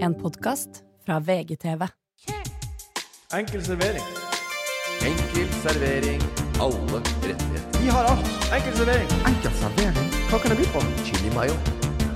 En podkast fra VGTV. Enkel servering. Enkel servering. Alle rettigheter. Vi har alt. Enkel servering. Enkel servering. Hva kan det by på? Chili mayo.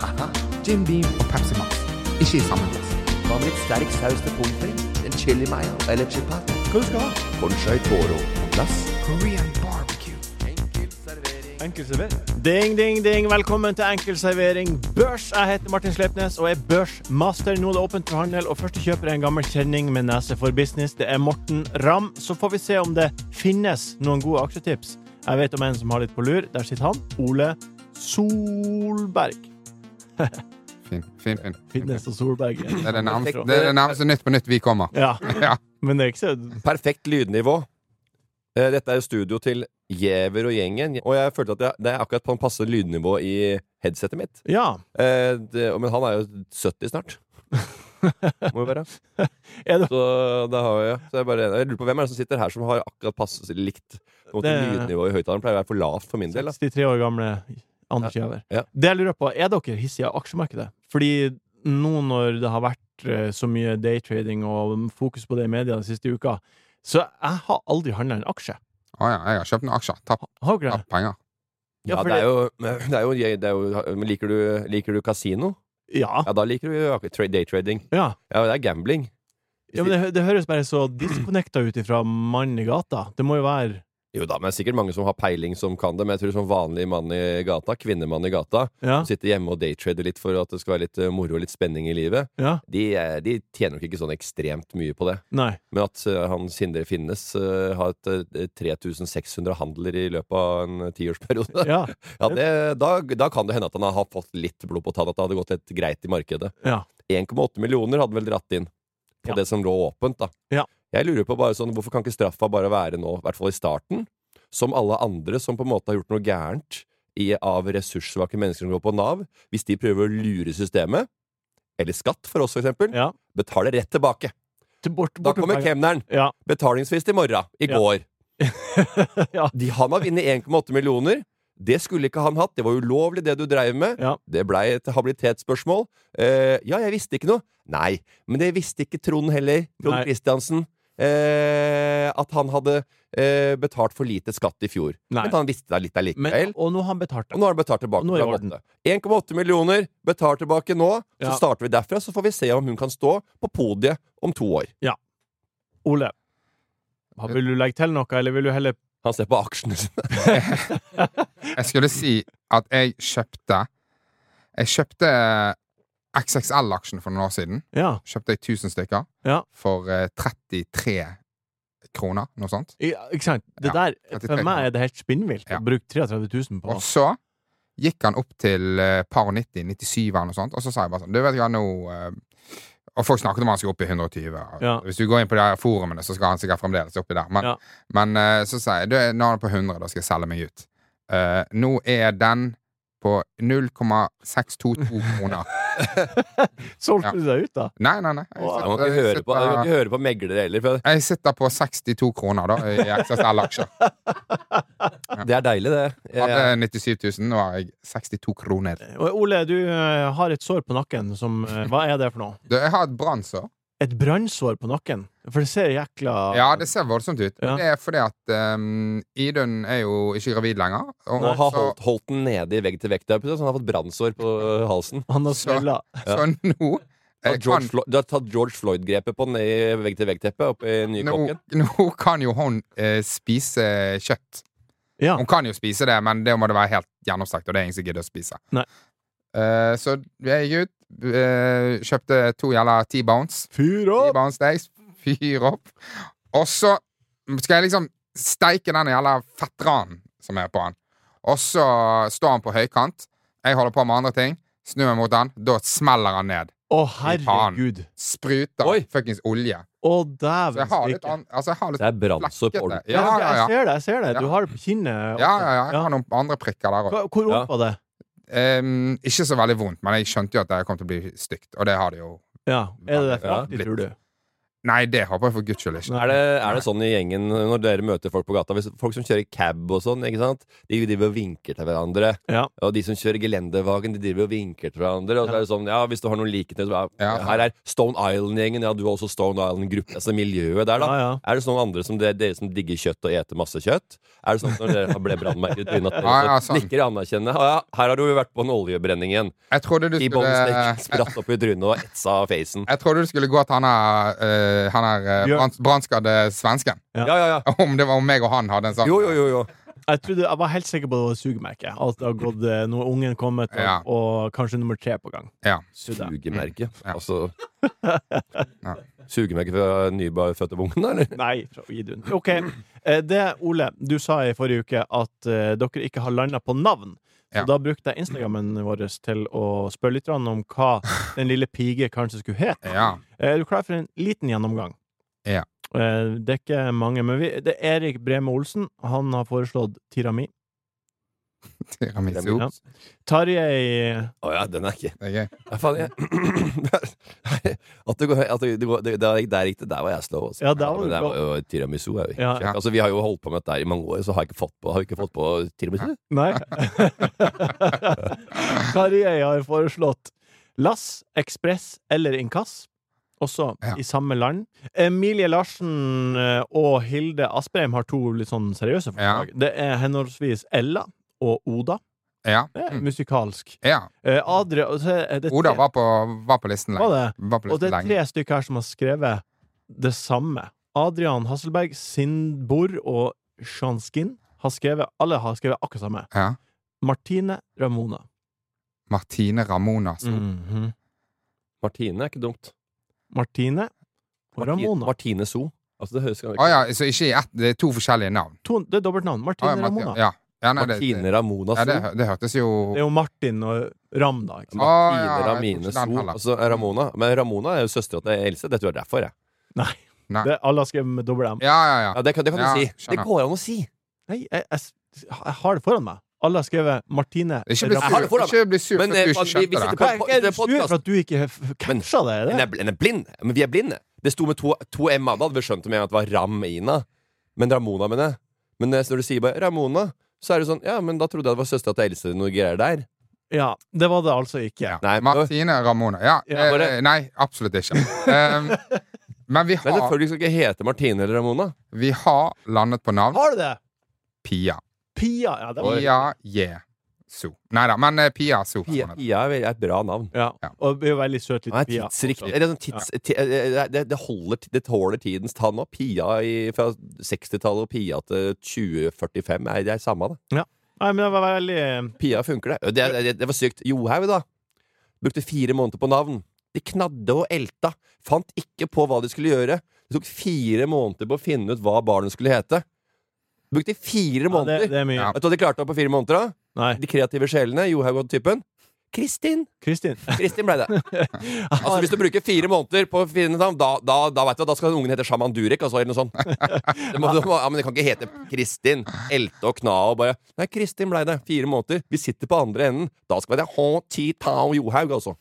Haha. Jim Beam og Pepsi Max. Ikke i samme glass. Hva med litt sterk saus til pommes frites? En chili mayo eller chipat? Hva du skal ha? Conchai toro på glass. Korean barbecue. Enkel servering. Enkel servering. Ding, ding, ding. Velkommen til Enkel servering børs. Jeg heter Martin Slepnes og er børsmaster. Nå er det åpent for handel, og første kjøper er en gammel kjenning med nese for business. Det er Morten Ramm. Så får vi se om det finnes noen gode aksjetips. Jeg vet om en som har litt på lur. Der sitter han. Ole Solberg. Fin, fin, fin. Finnes og Solberg. Det er det nærmeste, det er det nærmeste Nytt på Nytt vi kommer. Ja, Ja. men det er ikke så Perfekt lydnivå. Eh, Dette er jo studio til Giæver og gjengen, og jeg følte at jeg, det er akkurat på en passe lydnivå i headsetet mitt. Ja. Eh, det, men han er jo 70 snart. Må jo være. Er det Så det har jeg. Så jeg, bare, jeg lurer på hvem er det som sitter her som har akkurat passe likt på en måte Det- lydnivået i høyttaleren. Pleier å være for lavt for min del. da. 63 år gamle Anders Giæver. Ja. Det jeg lurer på, er dere hissige av aksjemarkedet? Fordi nå når det har vært eh, så mye daytrading og fokus på det i media den siste uka, så jeg har aldri handla en aksje. Å ja, jeg har kjøpt noen aksjer. Tapt, Har dere det? tapt penger. Ja, for det er jo, det er jo, det er jo men liker, du, liker du kasino? Ja. Ja, da liker du jo ak- tra- daytrading. ja. Ja, det er gambling. ja men det, hø- det høres bare så disconnecta ut ifra mannen i gata. Det må jo være Jo da, men det er sikkert mange som har peiling som kan det, men jeg tror som vanlig mann i gata, kvinnemann i gata, Ja. som sitter hjemme og daytrader litt for at det skal være litt eh, moro og litt spenning i livet, ja. de, eh, de tjener nok ikke sånn ekstremt mye på det. Nei. Men at eh, han Sindre Finnes eh, har et, eh, 3600 handler i løpet av en eh, tiårsperiode, ja. Ja. det, da, da kan det hende at han har fått litt blod på tann, at det hadde gått litt greit i markedet. ja. 1,8 millioner hadde vel dratt inn på Ja. det som lå åpent, da. Ja. Jeg lurer på bare sånn, hvorfor kan ikke straffa bare være nå, i hvert fall i starten, som alle andre som på en måte har gjort noe gærent i, av ressurssvake mennesker som går på Nav, hvis de prøver å lure systemet, eller skatt for oss, for eksempel, ja. betaler rett tilbake. Til bort, Da bort kommer kemneren. Ja. Betalingsfrist i morgen. I Ja. går. ja. De, han har vunnet 1,8 millioner. Det skulle ikke han hatt. Det var ulovlig, det du dreiv med. Ja. Det blei et habilitetsspørsmål. Eh, ja, jeg visste ikke noe. Nei, men det visste ikke Trond heller. Trond Nei. Kristiansen. Eh, at han hadde eh, betalt for lite skatt i fjor. Nei. Men han visste det litt Men, allikevel. og nå har han betalt Og det. nå har han betalt tilbake. Og nå er det på en måte. 1,8 millioner. Betal tilbake nå. Så Ja. starter vi derfra, så får vi se om hun kan stå på podiet om to år. Ole, har- vil du legge til noe, eller vil du heller Han ser på aksjene sine. Jeg skulle si at jeg kjøpte Jeg kjøpte eh, XXL-aksjen for noen år siden. Ja. Kjøpte jeg 1000 stykker Ja. for eh, 33 kroner, noe sånt. Ja, ikke sant? Det Ja, der, 33 for meg er det helt spinnvilt Ja. å bruke 33 000 på Og så gikk han opp til eh, par og 90, 97 eller noe sånt, og så sa jeg bare sånn Du vet hva, nå eh, Og folk snakket om han skulle opp i 120. og Ja. Hvis du går inn på de her forumene, så skal han sikkert fremdeles oppi der. Men, Ja. men eh, så sa jeg du, nå er han på 100, da skal jeg selge meg ut. Eh, nå er den på 0,622 kroner. Solgte Ja. du deg ut, da? Nei, nei, nei. Jeg Wow. Man må ikke høre på, man må ikke høre på meglere heller. For jeg sitter på 62 kroner da i XSL-aksjer. det er deilig, det. Jeg- Hadde 97 000, eh, nå har jeg 62 kroner. Og Ole, du eh, har et sår på nakken som eh, Hva er det for noe? Du, jeg har et brannsår. Et brannsår på nakken? For det ser jækla Ja, det ser voldsomt ut. Ja. Men Det er fordi at um, Idun er jo ikke gravid lenger. Og, Og har så, holdt, holdt den nede i vegg til vegg. der, så Han har fått brannsår på ø, halsen. Han har Så- smella. ja. så nå Du har eh, George kan, Flo- du har tatt George Floyd-grepet på den i vegg til vegg-teppet oppe i nå, Nykokken. nå kan jo hun eh, spise kjøtt. Ja. Hun kan jo spise det, men det må det være helt gjennomstekt, og det er ingen som gidder å spise. Nei. Eh, så jeg gikk ut, eh, kjøpte to gjelder T-bones. Fyr opp! T-bones steaks, fyr opp. Og så skal jeg liksom steike den jævla fettranen som er på han. Og så står han på høykant. Jeg holder på med andre ting. Snur meg mot han. Da smeller han ned. Å, faen. herregud. Spruter Oi. fuckings olje. Å, Så jeg dæven har litt stikke. an... Altså, jeg har litt Det er brannsår på flekkete. ordentlig. Ja, ja, Jeg ja. ser det, jeg ser det. Du Ja. har det på kinnet. Ja, ja, ja. Jeg Ja. har noen andre prikker der òg. Hva- Hvor Ja. opp var det? ikke så veldig vondt, men jeg skjønte jo at det kom til å bli stygt, og det har det jo. Ja. Er det Ja, derfor, litt. tror du? Nei, det håper jeg for guds skyld ikke. Er det, er det sånn i gjengen når dere møter folk på gata hvis Folk som kjører cab og sånn, ikke sant? De driver og vinker til hverandre. Ja. Og de som kjører gelendervagen, de driver og vinker til hverandre. Og så er det sånn, ja, hvis du har noen likheter så er- Ja. Her er Stone Island-gjengen, ja, du har også Stone Island-gruppe. Altså miljøet der, da. Ja, ja. Er det sånn andre som dere, dere som digger kjøtt og eter masse kjøtt? Er det sånn at når dere ble brannmerket i trynet, at dere Ja, ja, også sånn. nikker anerkjennende? Ja, ja, her har du vært på en oljebrenning igjen. Jeg trodde du I bombestikk, skulle spratt opp i trynet og etsa av facen. Jeg trodde du skulle gå til han her, eh, han her Bjørn. uh, brannskadde svensken. Ja, ja, ja. Om det var om meg og han hadde en sånn. Jo, jo, jo. jo. Jeg, trodde, jeg var helt sikker på det var sugemerket. At det har gått eh, Nå har ungen kommet, og, Ja. og kanskje nummer tre på gang. Ja. Sugde. Mm. Sugemerke. Ja. Altså Ja. Sugemerke fra nybafødte bungen, da, eller? Nei, fra Idun. OK. Eh, Det, Ole, du sa i forrige uke at eh, dere ikke har landa på navn. Så Ja. da brukte jeg Instagrammen vår til å spørre litt grann om hva den lille pige kanskje skulle hete. Ja. Eh, Er du klar for en liten gjennomgang? Ja. Eh, Det er ikke mange, men vi, det er Erik Breme Olsen. Han har foreslått Tirami. Tiramisu. Ja. Tarjei Å ja, den er ikke Det er gøy. ja, faen, jeg... At det går, at det går det, der, der gikk det. Der var jeg slow. Altså. Ja, der var men du der slow. var jo tiramisu. Er jo Ja. ja. altså, vi har jo holdt på med dette her i mange år, så har jeg ikke fått på, har vi ikke fått på tiramisu. Nei. Tarjei har foreslått Lass, Ekspress eller Inkass. Også Ja. i samme land. Emilie Larsen eh, og Hilde Asprheim har to litt sånn seriøse forslag. Det er henholdsvis Ella og Oda. Ja. Mm. Det er musikalsk. ja. Eh, Adria og så er det tre- Oda var på, var på listen var lenge. det? Var på Og det listen er lenge. tre stykker her som har skrevet det samme. Adrian Hasselberg, Sindbor og Shanskin har skrevet Alle har skrevet akkurat samme. Ja. Martine Ramona. Martine Ramona. så- Mm. Mhm. Martine er ikke dumt. Martine og Marti- Ramona. Martine So. Altså, det høres Å ja, så ikke i ett, det er to forskjellige navn. To, det er dobbeltnavn. Å Martine Ah, ja, og Marti- Ramona. ja. Ja, nei, det, Martine Ramona So. ja, det, det hørtes jo Det er jo Martin og Ram, da. Ikke sant? Å, Martine ja, jeg tror Ramine ikke den So. heller. Altså Ramona. Men Ramona er jo søstera til Else. Det tror jeg er derfor, jeg. Nei. Nei. Det, alle har skrevet med dobbel M. Ja, ja, ja. Ja, det kan, det kan Ja, du si. skjønner. Det går an å si. Nei, jeg, jeg, s- jeg har det foran meg. Alle har skrevet Martine Ikke bli Jeg har sur, det foran ikke bli sur for Men, at du eh, vi- ikke vi skjønte sitter det. på- Hva- Er du det er sur podcast. for at du ikke f- f- Men- catcha det? er Den er, det? bl- den er blind. Men vi er blinde. Det sto med to, to M-er. Da hadde vi skjønt det med en gang at det var Ram-Ina. Men Ramona, mener jeg. Men eh, når du sier bare Ramona, så er det sånn Ja, men da trodde jeg det var søstera til Else noe greier der. Ja, det var det altså ikke. Ja. Nei, men, men Martine Ramona. Ja, Ja, eh, bare- nei, absolutt ikke. Um, men vi har, selvfølgelig skal ikke hete Martine eller Ramona. vi har landet på navn. Har du det? Pia. Pia. Ja, det var, Pia Jesu. Nei da, men eh, Pia Su. Pia, Pia er vel- er et bra navn. ja. Ja. Og det er jo veldig søt Det er liten Pia. tidsriktig. Eller sånn tids, ti, eh, det, det, holder, ti- det tåler tidens tann òg. Pia i, fra 60-tallet og Pia til 2045 er, det er samme, det. Nei, men det var veldig Pia funker, det. Det, det, det var sykt. Johaug, da. Brukte fire måneder på navn. De knadde og elta. Fant ikke på hva de skulle gjøre. Det tok fire måneder på å finne ut hva barnet skulle hete. Brukte ja, fire det, måneder. det er mye. Ja. Vet du hva de klarte på fire måneder? da? Nei. De kreative sjelene. Johaug og typen. Kristin. Kristin. Kristin ble det. Altså Hvis du bruker fire måneder på å finne navn, da, da, da vet du at da skal ungen hete Shaman Durek. Altså, eller noe sånt. Det må, du må- ja, men det kan ikke hete Kristin. Elte og kna og bare Nei, Kristin blei det. Fire måneder. Vi sitter på andre enden. Da skal det hete Ti Tao Johaug, altså.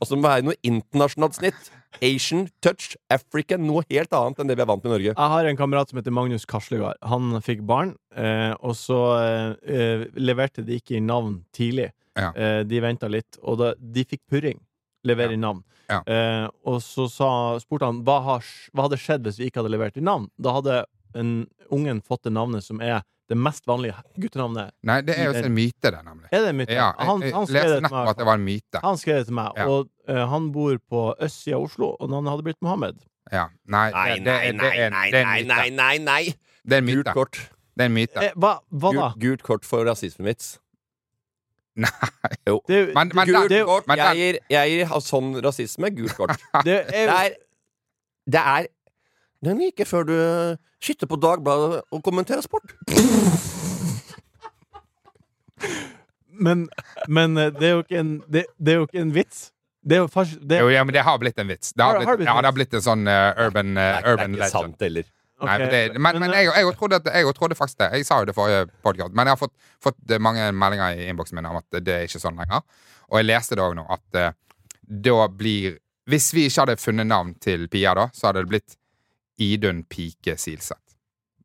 Og så må det være noe internasjonalt snitt. Asian touch. African. Noe helt annet enn det vi er vant med i Norge. Jeg har en kamerat som heter Magnus Karslegard. Han fikk barn, eh, og så eh, eh, leverte de ikke i navn tidlig. Ja. Eh, de venta litt, og da, de fikk purring. Levere i navn. Ja. Eh, og så sa, spurte han hva, har, sk- hva hadde skjedd hvis vi ikke hadde levert i navn. Da hadde en, ungen fått det navnet som er det mest vanlige guttenavnet. Nei, det er jo en myte, det, nemlig. Er det mitt? Ja, han, jeg, han jeg skrev leste det til nettopp at meg. det var en myte. Han skrev det til meg, Ja. og eh, han bor på østsida av Oslo, og navnet hadde blitt Mohammed. Ja. Nei, Nei, nei, det, det, det, nei, er, nei, det er nei, en nei, myte. nei, nei. Det er en Gult myte. kort. Det er en myte. Eh, hva, hva da? Gult, gult kort for rasismen vits. Nei. Det, er jo- Men, men, Gult den, det- kort. men Jeg den- gir, jeg gir ha- sånn rasisme gult kort. det er jo Det er Det er Den er ikke før du skytter på Dagbladet og kommenterer sport. Men, men eh, det, er jo ikke en, det, det er jo ikke en vits. Det er jo fars... Det, jo, ja, men det har blitt en vits. Det har Har- har det blitt, blitt ja, en det har blitt en sånn eh, urban, eh, urban legend. heller. ok. eh, Nei, men det, men, men jeg, jeg, trodde at, jeg trodde faktisk det. Jeg sa jo det forrige podcast. Men jeg har fått, fått mange meldinger i innboksen min om at det er ikke sånn lenger. Og jeg leste det òg nå, at eh, da blir Hvis vi ikke hadde funnet navn til Pia, da, så hadde det blitt Idun Pike Silseth.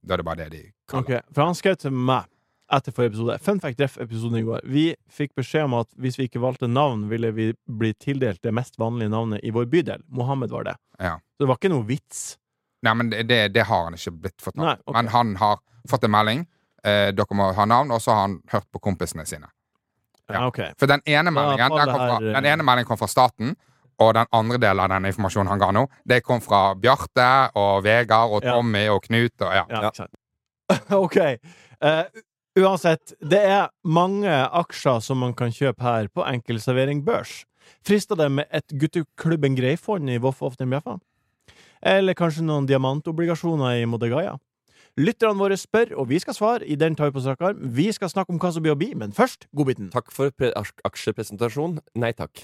Da er det bare det de kaller eh, Ok, For han skrev til meg etter forrige episode. Fun fact ref episoden i går. Vi fikk beskjed om at hvis vi ikke valgte navn, ville vi bli tildelt det mest vanlige navnet i vår bydel. Mohammed var det. Ja. Så det var ikke noe vits. Nei, men det, det, det har han ikke blitt fortalt. Nei, ok. Men han har fått en melding. Eh, dere må ha navn, og så har han hørt på kompisene sine. Ja. Ja, ok. For den ene meldingen, Paul, den kom, fra, det her, eh, den ene meldingen kom fra staten. Og den andre delen av den informasjonen han ga nå, det kom fra Bjarte og Vegard og Ja. Tommy og Knut og ja. Ja, Ja. ikke sant. ok. Eh, u- uansett, det er mange aksjer som man kan kjøpe her på Enkel Servering Børs. Frister det med et gutteklubben Greifond i Voff Often Bjeffa? Eller kanskje noen diamantobligasjoner i Modegaia? Lytterne våre spør, og vi skal svare. I den tar vi på strak arm. Vi skal snakke om hva som blir å bli, men først godbiten. Takk for pre aks- aksjepresentasjon. Nei takk.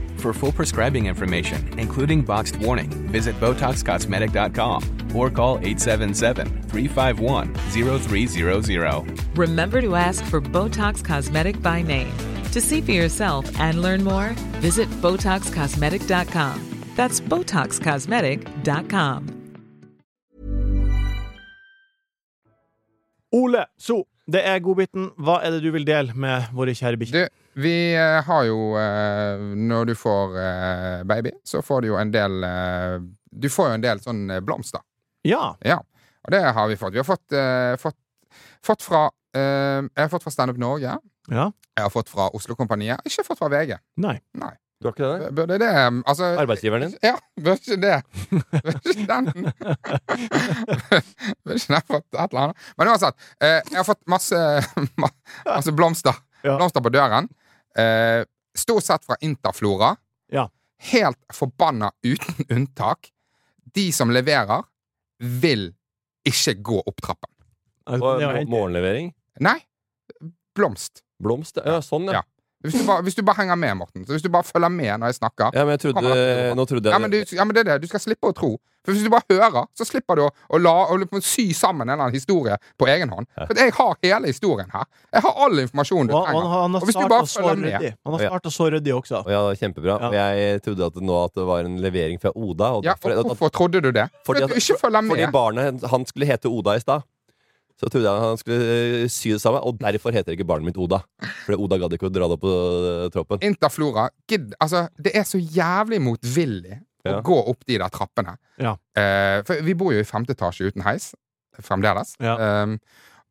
For full prescribing information, including boxed warning, visit BotoxCosmetic.com or call 877-351-0300. Remember to ask for Botox Cosmetic by name. To see for yourself and learn more, visit BotoxCosmetic.com. That's BotoxCosmetic.com. Ole, så det er godbiten. Hva er det du vil dele med våre kjære bikkjer? Du, vi eh, har jo eh, Når du får eh, baby, så får du jo en del eh, Du får jo en del sånn eh, blomster. Ja. Ja, og det har vi fått. Vi har fått, eh, fått, fått fra eh, Jeg har fått fra Standup Norge. Ja. Jeg har fått fra Oslo Kompaniet. Ikke fått fra VG. Nei. Nei. Du har ikke det? der? Burde det Altså Arbeidsgiveren din? Ja, burde ikke det. Burde ikke den Burde ikke den fått et eller annet? Men uansett, eh, jeg har fått masse, ma- masse blomster. Ja. Blomster på døren. Eh, stort sett fra Interflora. Ja. Helt forbanna uten unntak. De som leverer, vil ikke gå opp trappen. Og Det var mo- helt- morgenlevering? Nei. Blomst. Blomst? Ja, sånn, ja. Ja. Hvis du, bare, hvis du bare henger med, Morten. Så hvis du bare følger med når jeg snakker Ja, men jeg trodde Nå trodde ja, men, jeg du, ja, men det er det. Du skal slippe å tro. For Hvis du bare hører, så slipper du å, å, la, å liksom sy sammen en eller annen historie på egen hånd. For jeg har hele historien her. Jeg har all informasjonen du Og han, trenger. han, han har Og hvis du starta bare så følger med ryddig. Han har Ja. starta så ryddig også. Å, Ja, det var kjempebra. Ja. Og Jeg trodde at det nå at det var en levering fra Oda. Og ja, for- og at- Hvorfor trodde du det? Fordi at du ikke følger med. fordi barnet hen- han skulle hete Oda i stad. Så trodde jeg han skulle eh, sy det sammen, og derfor heter ikke barnet mitt Oda. Fordi Oda gadd ikke å dra det opp på eh, troppen. Interflora gidd, altså, Det er så jævlig motvillig å Ja. gå opp de der trappene. Ja. Eh, for vi bor jo i femte etasje uten heis fremdeles. Ja. Um,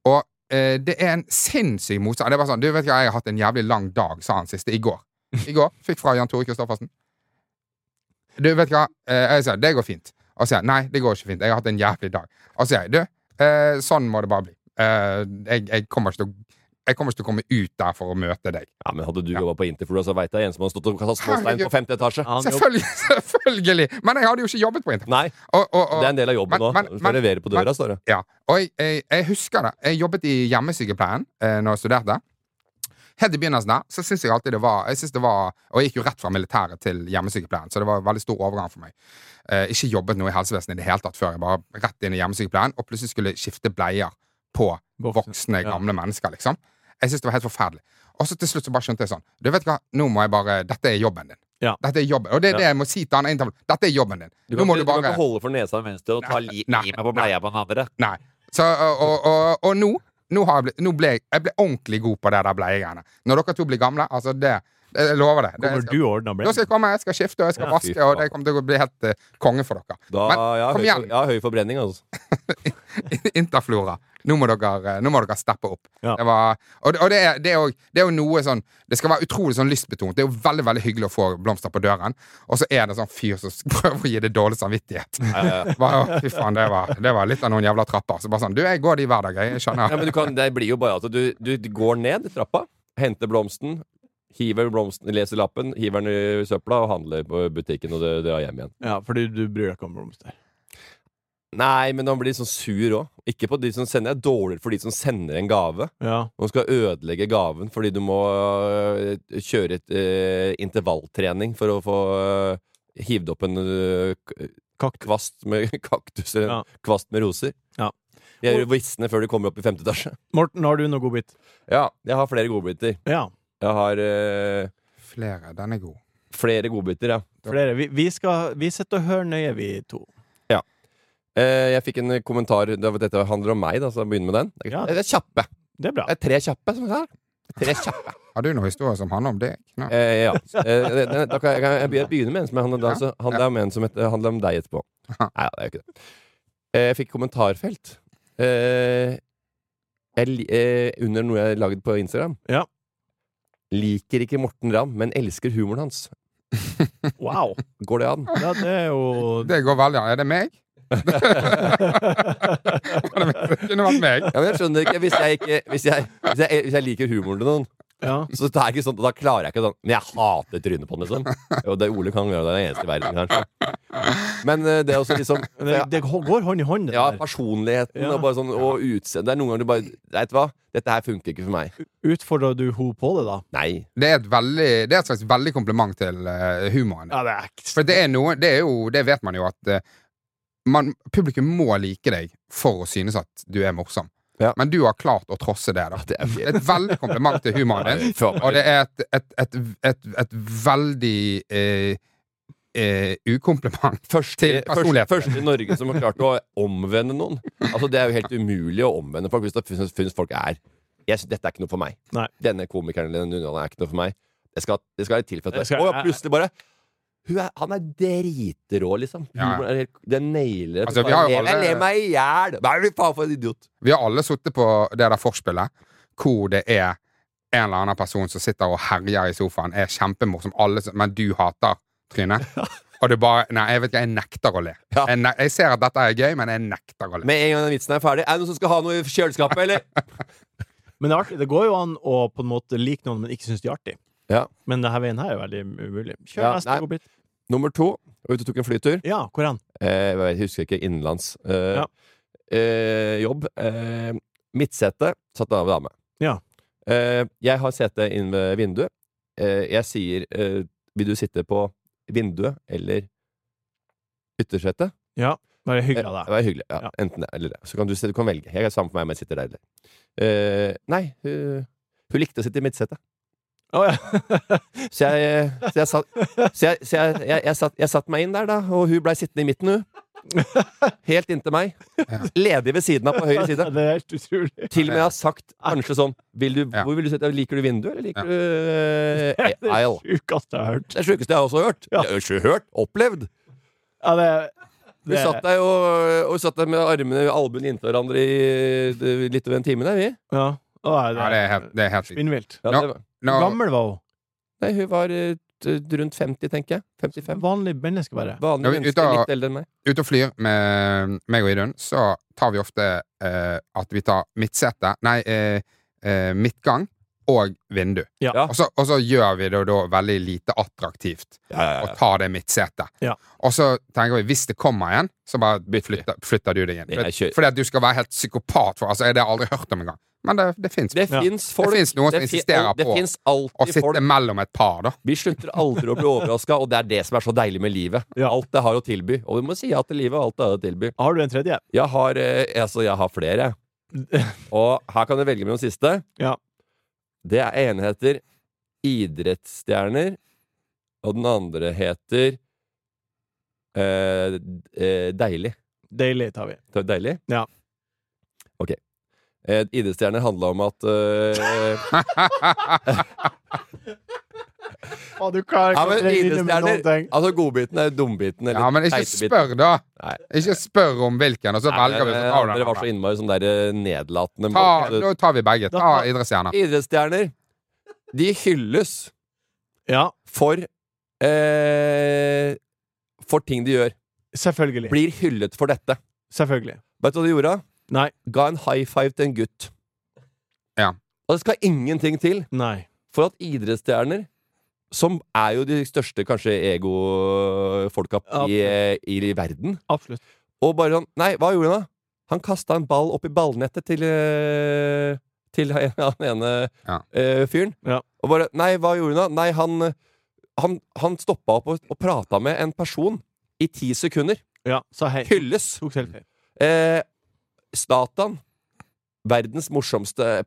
og eh, det er en sinnssyk motstand. Det er bare sånn, du vet ikke, Jeg har hatt en jævlig lang dag, sa han siste. I går. I går fikk fra Jan Tore Christoffersen. Du vet hva, eh, jeg sier, det går fint. Og så sier jeg, nei, det går ikke fint. Jeg har hatt en jævlig dag. Og så sier jeg, du, eh, sånn må det bare bli. Eh, jeg, jeg, kommer ikke til å, jeg kommer ikke til å komme ut der for å møte deg. Ja, men Hadde du jobbet på Interflora, så veit jeg en som har stått og kasta småstein Herregud. på femte etasje. Han jobb- Selvfølgelig, selvfølgelig! Men jeg hadde jo ikke jobbet på Interflora. Nei, Og, og, og, det er en del av Men- jobben nå. men- Du men- skal levere på men- døra, står det. Ja, og jeg, jeg, jeg husker det. Jeg jobbet i hjemmesykepleien eh, når jeg studerte. Helt i begynnelsen der, så synes jeg alltid det var, jeg synes det var Og jeg gikk jo rett fra militæret til hjemmesykepleien, så det var en veldig stor overgang for meg. Eh, ikke jobbet noe i helsevesenet i det hele tatt før. Jeg bare rett inn i hjemmesykepleien, og plutselig skulle jeg skifte bleier på voksne, ja. gamle mennesker, liksom. Jeg synes det var helt forferdelig. Og så til slutt så bare skjønte jeg sånn Du vet hva, nå må jeg bare Dette er jobben din. Ja. Dette er jobben. Og det er det jeg må si til han ene Dette er jobben din. Du Nå kan, må ikke, du du kan bare ikke holde for nesa mens du og ta Nei, li, nei, limet på bleia på den andre. Nei. Så, og, og, og, og nå, nå, har jeg blitt, nå ble jeg, jeg ble ordentlig god på det der bleiegreiene. Når dere to blir gamle, altså det, det Jeg lover det. det Kommer du jeg skal, og ordner nå skal brev? jeg komme, jeg skal skifte, og jeg skal Ja, fy vaske, og det faen. kommer til å bli helt eh, konge for dere. Da, Men jeg, har kom høy, igjen, jeg har høy forbrenning, altså. Interflora. Nå må dere, eh, nå må dere steppe opp. Ja. Det var, og det, og det, er- det, er jo- det er jo noe sånn Det skal være utrolig sånn lystbetont. Det er jo veldig veldig hyggelig å få blomster på døren, og så er det sånn fyr som prøver å gi det dårlig samvittighet. Bare, å, fy faen, det var, det var litt av noen jævla trapper. Så bare sånn Du, jeg går de hver dag, jeg. jeg Ja, Skjønner. men du kan, det blir jo bare at du, du går ned i trappa, henter blomsten, hiver blomsten, leser lappen, hiver den i søpla og handler på butikken og dr- drar hjem igjen. Ja, fordi du bryr deg ikke om blomster. Nei, men han blir sånn sur òg. Ikke på de som sender. Det er dårligere for de som sender en gave. Ja. Man skal ødelegge gaven fordi du må øh, kjøre et, øh, intervalltrening for å få øh, hivd opp en øh, k- Kaktus. kvast med kaktus eller en Ja. kvast med roser. Ja. De er jo visne før de kommer opp i femte etasje. Morten, har du noe godbit? Ja, jeg har flere godbiter. Ja. Jeg har øh, Flere. Den er god. flere godbiter, ja. Flere. Vi, vi, skal, vi sitter og hører nøye, vi to. Eh, jeg fikk en kommentar det var- Dette handler om meg, da, så jeg begynner med den. Eh, Ja. Det er kjappe. Det er bra. Det er tre kjappe, som jeg sa. Tre kjappe. Har du noen historier som handler om deg? Nei. Eh, ja. Eh, det- det- da kan jeg, kan jeg be- begynne med en som handler om, Ja. deg, så handler jeg om, en som heter, handler om deg etterpå. Ja. Nei, det er jo ikke det. Eh, jeg fikk kommentarfelt eh, jeg, li- eh, under noe jeg lagde på Instagram. Ja. Liker ikke Morten Ramm, men elsker humoren hans. Wow. Går det an? Ja, det er jo Det går veldig an. Er det meg? det kunne vært meg. Ja, men jeg skjønner ikke hvis jeg, ikke, hvis jeg, hvis jeg, hvis jeg liker humoren til noen. Ja. Så det er ikke sånn, da klarer jeg ikke sånn Men jeg hater trynet på den, liksom. Og det Ole kan gjøre det er den eneste i verden, kanskje. Men eh, det er også liksom Men Det, det hå- går hånd i hånd. det Ja, der. personligheten Ja. og bare sånn Og utseendet. Det er noen ganger du bare Vet du hva? Dette her funker ikke for meg. Utfordrer du henne på det, da? Nei. Det er et, veldig, det er et slags veldig kompliment til eh, humoren. Ja, det er ikke For det er noe Det, er jo, det vet man jo at eh, man, publikum må like deg for å synes at du er morsom. Ja. Men du har klart å trosse det. da Det er Det er et veldig kompliment til humoren din. Faen. Og det er et, et, et, et, et veldig eh, eh, ukompliment til Eh, Først, personligheten. først i Norge som har klart å omvende noen. Altså Det er jo helt umulig å omvende folk hvis det finnes- finnes folk er jeg, synes Dette er ikke noe for meg. Nei. Denne komikeren eller denne underholderen er ikke noe for meg. Det skal, det skal være tilfelle. Det skal- Å ja, plutselig bare hun er, Han er dritrå, liksom. Ja, ja. Humoren er helt- Det nailer Altså, vi har jo Jeg ler- Jeg alle- ler meg i hjel! Hva er det faen for en idiot? Vi har alle sittet på det der forspillet hvor det er en eller annen person som sitter og herjer i sofaen, er kjempemorsom, alle, som- men du hater trynet. Og du bare Nei, jeg vet ikke, jeg nekter å le. Ja. Jeg, ne jeg ser at dette er gøy, men jeg nekter å le. Med en gang den vitsen er ferdig, er det noen som skal ha noe i kjøleskapet, eller? Men det, er artig. det går jo an å på en måte like noen, men ikke synes de er artig. Ja. Men denne veien her er veldig umulig. Kjør Ja, neste nei. godbit. Nummer to. Jeg var ute og tok en flytur. Ja, hvor er han? Eh, jeg husker ikke innenlands eh, Ja. eh, jobb. Eh, mitt sete satt av en dame. Ja. Eh, jeg har sete inn ved vinduet. Eh, jeg sier eh, 'vil du sitte på vinduet eller yttersetet?' Ja, bare hyggelig Eh, av det deg. var hyggelig. Ja, Ja. Enten det eller det. Så kan du, du kan velge. Jeg er sammen med meg, men jeg sitter der eller eh, Nei, hun, hun likte å sitte i mitt sete. Å, ja. Så jeg, eh, så jeg, satt, så jeg, så jeg, jeg, jeg, satt, jeg satt meg inn der, da, og hun blei sittende i midten, hun. Helt inntil meg. Ledig ved siden av på høyre side. det er helt utrolig. Til og med jeg har sagt kanskje sånn vil du, Ja. hvor vil du sitte? Liker du vinduet, eller liker Det er du det uh, aisle? sjukeste jeg har hørt. Det er det sjukeste jeg også har hørt. Ja. Jeg har ikke hørt, Opplevd. Ja, det, Vi det, satt der og, og satt der med armene og albuene inntil hverandre i eh, litt over en time. Der, vi. ja. Å, Ja, det er helt, det er helt sykt. spinnvilt. Ja, Ja. det var- Hvor Nå, gammel var hun? Nei, hun var eh, t- rundt 50, tenker jeg. 55. Vanlig menneske, bare. Vanlig Ja, vi- menneske, ut av- litt eldre enn meg. ute og flyr med meg og Idun, så tar vi ofte eh, at vi tar midtsete Nei, eh, eh, midtgang og vindu. Ja. Og, så, og så gjør vi det da veldig lite attraktivt. Ja, ja, og tar det midtsetet. Ja. Og så tenker vi hvis det kommer en, så bare flytter, flytter du deg inn. Det er kjø- Fordi at du skal være helt psykopat. For, altså, det har jeg aldri hørt om engang. Men det, det fins. Det Ja. fins folk finnes noen som fi- insisterer Det på fins Å alltid sitte folk. mellom et par, da. Vi slutter aldri å bli overraska, og det er det som er så deilig med livet. Ja. Alt det har å tilby. Og vi må si ja til livet og alt det har å tilby. Har du en tredje? Jeg har, eh, altså, jeg har flere. Og her kan du velge mellom siste. Ja. Det er ene heter idrettsstjerner, og den andre heter eh, eh, deilig. Deilig tar vi. Det er deilig? Ja. Ok. Eh, idrettsstjerner handla om at eh, Og du klarer Ja, ikke å men trene inn med idrettsstjerner noen ting. Altså, godbiten er dumbiten. eller Ja, men ikke teitebiten. spør, da! Nei. Ikke spør om hvilken, og så Nei, velger vi men, eh, så tar vi Dere den. var så andre. innmari sånn der eh, nedlatende. Ta, mot- eh, nå tar vi begge. Ta Da- idrettsstjerner. Idrettsstjerner, de hylles Ja, for eh, For ting de gjør. selvfølgelig. Blir hyllet for dette. Selvfølgelig. Vet du hva de gjorde? Nei. Ga en high five til en gutt. Ja. Og det skal ingenting til Nei. for at idrettsstjerner som er jo de største kanskje egofolka i, eh, i verden. Absolutt. Og bare sånn Nei, hva gjorde han da? Han kasta en ball opp i ballnettet til eh, Til han ene Ja. eh, fyren. Ja. Og bare Nei, hva gjorde han da? Nei, han eh, Han, han stoppa opp og, og prata med en person i ti sekunder. Ja, sa hei. Hylles! Tok selfie. Eh, Zlatan. Verdens morsomste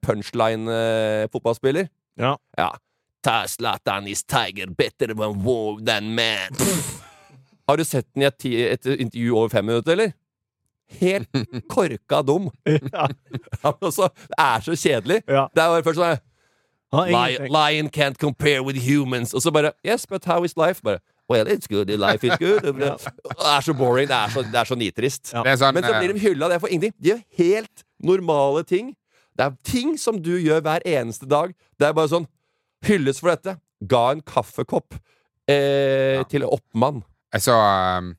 eh, punchline-fotballspiller. Ja. ja. Ta Zlatan is tiger better than wow than man. Har du sett den i et, ti, et intervju over fem minutter, eller? Helt korka dum. Ja. Ja, men altså, det er så kjedelig. Ja. Det er bare først sånn Han har Lion, ingenting. lion can't compare with humans. Og så bare Yes, but how is life? Bare Well, it's good. Life is good. Og Det er så boring. Det er så, det er så nitrist. Ja. Det er sånn, Men så blir de hylla det er for ingenting. De gjør helt normale ting. Det er ting som du gjør hver eneste dag. Det er bare sånn Hylles for dette. Ga en kaffekopp eh, til oppmann. Jeg så um,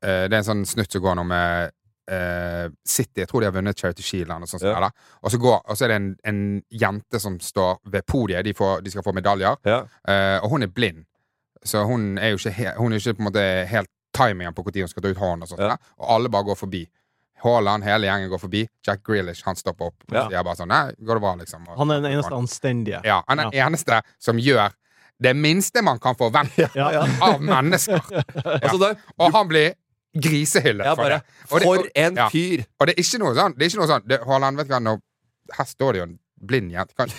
eh, Det er en sånn snutt som går nå med eh, City. Jeg tror de har vunnet Charity Shield eller noe sånt. som Ja. det er da. Og så, går, og så er det en, en jente som står ved podiet. De, får, de skal få medaljer. Eh, og hun er blind. Så hun er jo ikke, he hun er ikke på en måte helt timingen på når hun skal ta ut hånden. Og sånt Ja. der. Og alle bare går forbi. Haaland, hele gjengen går forbi. Jack Grealish, han stopper opp. Ja. Så de er bare sånn Nei, går det bra, liksom? Og, Han er den eneste anstendige. ja, han er den eneste som gjør det minste man kan forvente Ja, ja. av mennesker. Altså, da, Og han blir grisehyllet ja, for bare, det. Og det, for og, en ja. fyr! og det er ikke noe sånn, det er ikke noe sånn det, Haaland, vet du hva, nå, her står det jo en blind jente. Kan,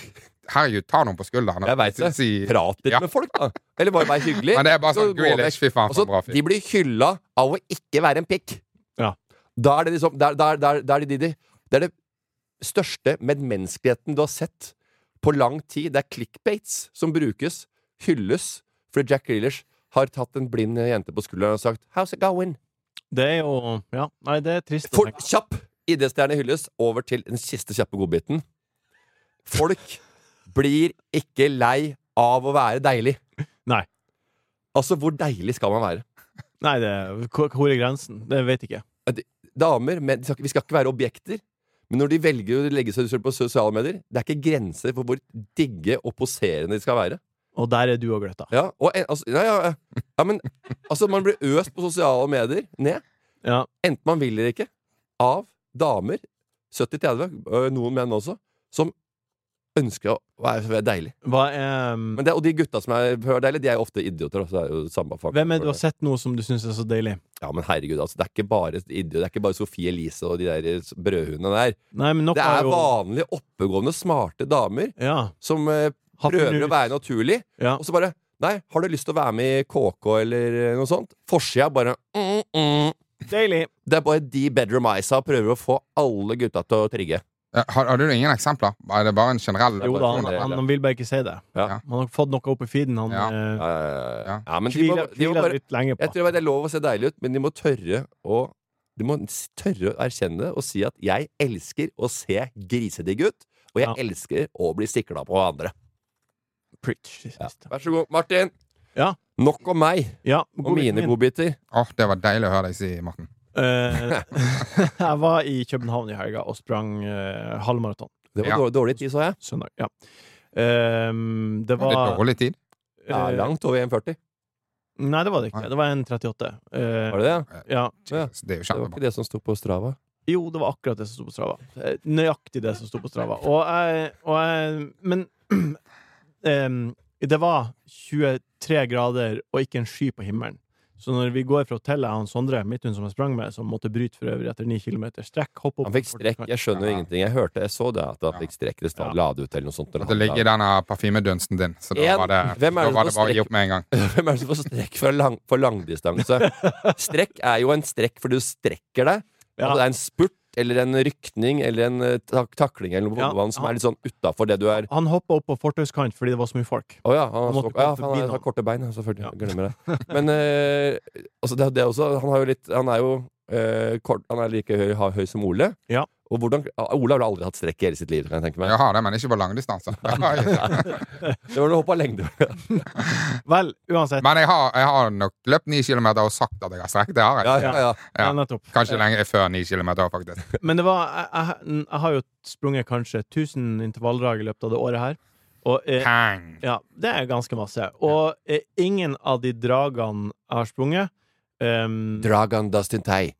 herregud, ta noen på skulderen. og Jeg veit det. si, Prat litt Ja. med folk, da. Eller bare vær hyggelig. Men det er bare Så sånn gå Grealish, fy faen, for en Altså, bra fyr. de blir hylla av å ikke være en pikk. Ja. Da er det liksom da, da, da, da er det, de, de. det er det største medmenneskeligheten du har sett på lang tid. Det er clickbaits som brukes, hylles, fordi Jack Grealish har tatt en blind jente på skulderen og sagt 'How's it going?' Det er jo Ja, nei, det er trist. å For tenke. kjapp idrettsstjerne hylles over til den siste kjappe godbiten. Folk blir ikke lei av å være deilig. Nei. Altså, hvor deilig skal man være? Nei, det er, hvor hvor er grensen? Det vet ikke jeg. damer men, de skal, ikke- Vi skal ikke være objekter. Men når de velger å legge seg ut på sosiale medier, det er ikke grenser for hvor digge og poserende de skal være. Og der er du og gløtta. Ja, og, en- altså, ja, ja, ja. ja men altså, man blir øst på sosiale medier ned, Ja. enten man vil eller ikke, av damer, 70-30, øh, noen menn også, som ønsker å være, være deilig. Hva er Men det, og de gutta som er for deilige, de er jo ofte idioter. da, så det er jo samme fakta. Hvem er det du har sett nå som du syns er så deilig? Ja, men herregud, altså, det er ikke bare idioter. Det er ikke bare Sofie Elise og de der brødhundene der. Nei, men nok Det har er jo vanlige, oppegående, smarte damer Ja. som eh, Har prøver funnet å ut- være naturlig, ja. og så bare Nei, har du lyst til å være med i KK eller eh, noe sånt? Forsida bare mm, mm. Deilig. Det er bare de Bedroom Isa prøver å få alle gutta til å trigge. Ja, Har, har du ingen eksempler? Er det bare en generell Jo da, han, refleksjon? han, han vil bare ikke si det. Ja. Han har fått noe opp i feeden. Han Ja. eh, Ja, ja, ja, ja. Ja. ja men de må, tviler, de må tviler bare litt lenge Jeg på. tror det er lov å se deilig ut, men de må tørre å De må s- tørre å erkjenne det og si at 'jeg elsker å se grisedigg ut', og 'jeg Ja. elsker å bli sikla på av andre'. Preach. Ja. Vær så god, Martin. Ja. Nok om meg Ja, og godbiten mine min. godbiter. Åh, det var deilig å høre deg si, Morten. Eh, jeg var i København i helga og sprang eh, halvmaraton Det var Ja. dårlig, dårlig tid, så jeg. søndag. Ja. Ehm, det Litt var dårlig tid. Ja, eh, langt over 1,40. Nei, det var det ikke. Det var en 38. Eh, Var det det? Ja. Jesus, det er Det var jo ikke kjempebra. det som sto på Strava. Jo, det var akkurat det som sto på Strava. Eh, Nøyaktig det som sto på Strava. Og jeg, og jeg Men em, det var 23 grader og ikke en sky på himmelen. Så når vi går fra hotellet, han Sondre, midthund som jeg sprang med, som måtte bryte for øvrig etter 9 km strekk, hoppe opp Han fikk strekk. Jeg skjønner jo ingenting. Jeg hørte, jeg så det, at han fikk strekk. Det stod, la det ut eller noe sånt. At det ligger i denne parfymedunsten din. Så da En. var det, da Hvem er det var som det bare å gi strekker- opp med en gang. Hvem er det som får strekk for, lang, for langdistanse? Strekk er jo en strekk fordi du strekker deg. Ja. Altså, det er en spurt eller en rykning eller en eh, tak takling eller noe på Ja, fotballbanen som han- er litt sånn utafor det du er Han hoppa opp på fortauskant fordi det var så mye folk. Å ja, han, Han har måtte stokk- ja, komme han forbi har, nå. har korte bein, ja, selvfølgelig. Ja. Glemmer det. Men eh, altså det, det er også Han har jo litt Han er jo eh, kort, Han er like høy, ha- høy som Ole. Ja. Og hvordan, ah, Ole har vel aldri hatt strekk i hele sitt liv, kan jeg tenke meg. Jeg har det, men ikke på altså. langdistanse. men Det var noe hopp av lengde. Vel, uansett. jeg har, jeg har nok løpt ni kilometer og sagt at jeg har strekk. Det har jeg. ja, ja, ja. Ja. Ja, nettopp. Kanskje lenge før ni kilometer, faktisk. Men det var jeg, jeg, jeg har jo sprunget kanskje 1000 intervalldrag i løpet av det året her. Og, eh, Pang! ja, det er ganske masse. Og eh, ingen av de dragene jeg har sprunget ehm, Dragan Dustin Tei.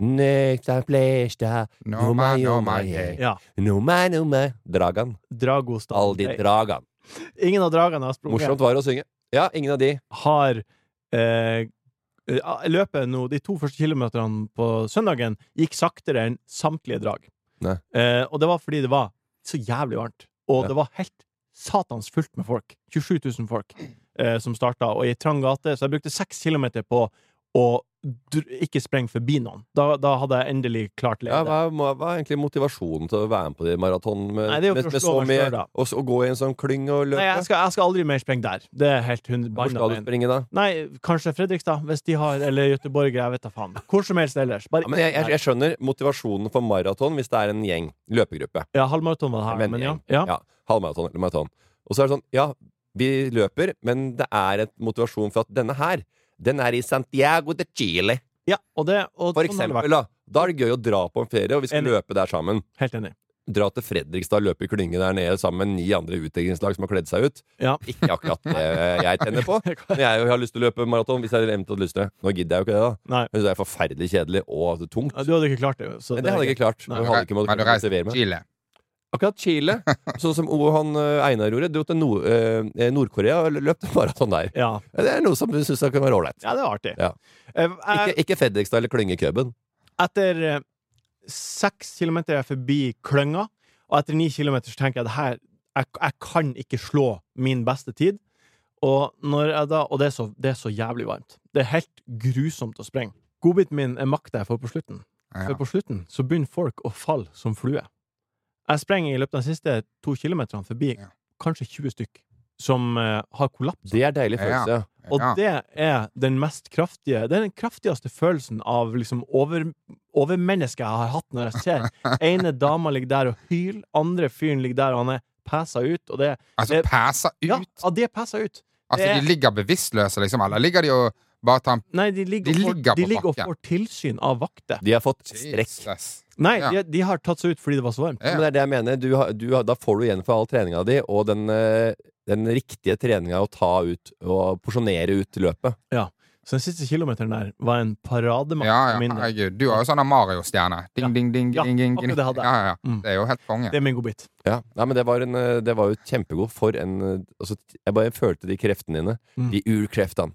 Nøkta plesta No, man, no, man, hey. Ja. Nummer, nummer Dragan. Dragostad. Aldi Nei, Dragan. Ingen av dragene jeg har sprunget, Morsomt var det å synge. Ja, ingen av de. har eh, eh, Løpet nå, de to første kilometerne på søndagen, gikk saktere enn samtlige drag. Nei. Eh, og det var fordi det var så jævlig varmt. Og Ja. det var helt satans fullt med folk. 27 000 folk eh, som starta, og i ei trang gate. Så jeg brukte seks kilometer på å dr- ikke sprenge forbi noen. Da, da hadde jeg endelig klart Ja, ledet. hva, hva hva er egentlig motivasjonen til å være med på de maratonene med, Nei, det er jo med, for å med så slå meg selv, mye da. og, s- og gå i en sånn klyng og løpe? Nei, jeg skal, jeg skal aldri mer sprenge der. Det er helt hun Hvor banna. skal du veien. springe da? Nei, kanskje Fredrikstad, hvis de har, eller Göteborg, jeg vet da faen. Hvor som helst ellers. Bare Ja, men jeg, jeg, jeg skjønner motivasjonen for maraton hvis det er en gjeng. Løpegruppe. Ja, halvmaraton var det her, En men ja. vennegjeng. ja. Ja, halvmaraton eller maraton. Og så er det sånn, ja, vi løper, men det er et motivasjon for at denne her, den er i Santiago de Chile. ja og det, og sånn har For det eksempel, da. Da er det gøy å dra på en ferie, og vi skal Enig. løpe der sammen. vært. Helt enig. Dra til Fredrikstad, løpe i klynge der nede sammen med ni andre utdrikningslag som har kledd seg ut. Ja. Ikke akkurat det jeg tenner på. Men jeg har lyst til å løpe maraton hvis jeg eventuelt har lyst til det. Nå gidder jeg jo ikke det, da. Nei. Jeg synes det er forferdelig kjedelig og tungt. Ja, Du hadde ikke klart det, så Men det det er hadde greit. jeg ikke klart. Nei. Jeg hadde ikke måttet Men du reiste motivere meg. til Chile. Akkurat Chile, sånn som O- han eh, Einar gjorde, dro til Nord- eh, Nord-Korea og løp maraton der. Ja. Det er noe som du syns kan være ålreit. ja, det er artig. Ja. Eh, Jeg, Ikke, ikke Fredrikstad eller Klyngecuben. etter eh, seks kilometer er jeg forbi klønga, og etter ni kilometer så tenker jeg det her jeg, jeg kan ikke slå min beste tid. Og, når jeg da, og det, er så, det er så jævlig varmt. Det er helt grusomt å sprenge. Godbiten min er makta jeg får på slutten. Ja. For på slutten så begynner folk å falle som fluer. Jeg sprenger i løpet av de siste to kilometerne forbi Ja. kanskje 20 stykk som eh, har kollapsa. Det er deilig følelse. Og Ja. det er den mest kraftige Det er den kraftigste følelsen av liksom over, overmennesket jeg har hatt når jeg ser ene dama ligger der og hyler, andre fyren ligger der og han er pæsa ut, og det Altså, Eh, pæsa ut? Ja, ja det er pæsa ut. altså, det- de ligger bevisstløse, liksom? Eller ligger de og bare tar en Nei, de ligger, De og får- ligger på de ligger og bakken. får tilsyn av vakter. De har fått strekk. Jesus. Nei, Ja. de, de har tatt seg ut fordi det var så varmt. Ja. Men det er det jeg mener. Du, har- du, har- da får du igjen for all treninga di, og den, eh, den riktige treninga å ta ut og porsjonere ut løpet. Så den siste kilometeren der var en parademarsj Ja, ja, for min del. herregud. Du har jo sånn Mario-stjerne. Ding, Ja. ding, ding, Ja, ding, ding, akkurat ding. det hadde jeg. Ja, ja, ja. Mm. Det er jo helt konge. Det er min godbit. Ja. Nei, men det var, en, eh, det var jo kjempegod for en eh, altså, Jeg bare følte de kreftene dine. Mm. De urkreftene.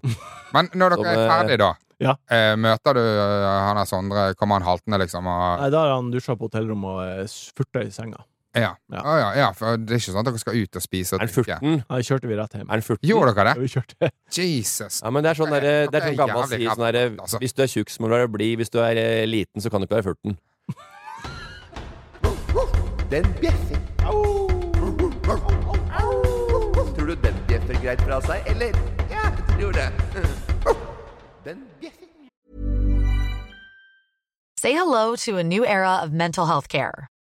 Men når dere Som, er eh, ferdig da, ja. eh, møter du eh, han der Sondre Kommer han haltende, liksom? Og, Nei, da har han dusja på hotellrommet og eh, furta i senga. ja. Ja. Å, ja, ja, for det er ikke sånn at dere skal ut og spise og Er den drikke. furten? Nei, kjørte vi rett hjem. Er den furten? Gjorde dere Ja, det? vi kjørte. Jesus. Ja, men det er sånn, Det er- derre- det det er er sånn gammel jævlig si sånn derre, gammelt, altså. Hvis du er tjukk, så må du være blid. Hvis du er eh, liten, så kan du ikke være furten. Den bjeffer. Tror du den bjeffer greit fra seg, eller? Ja, jeg tror det. Den bjeffer. Say hello to a new era of mental health care.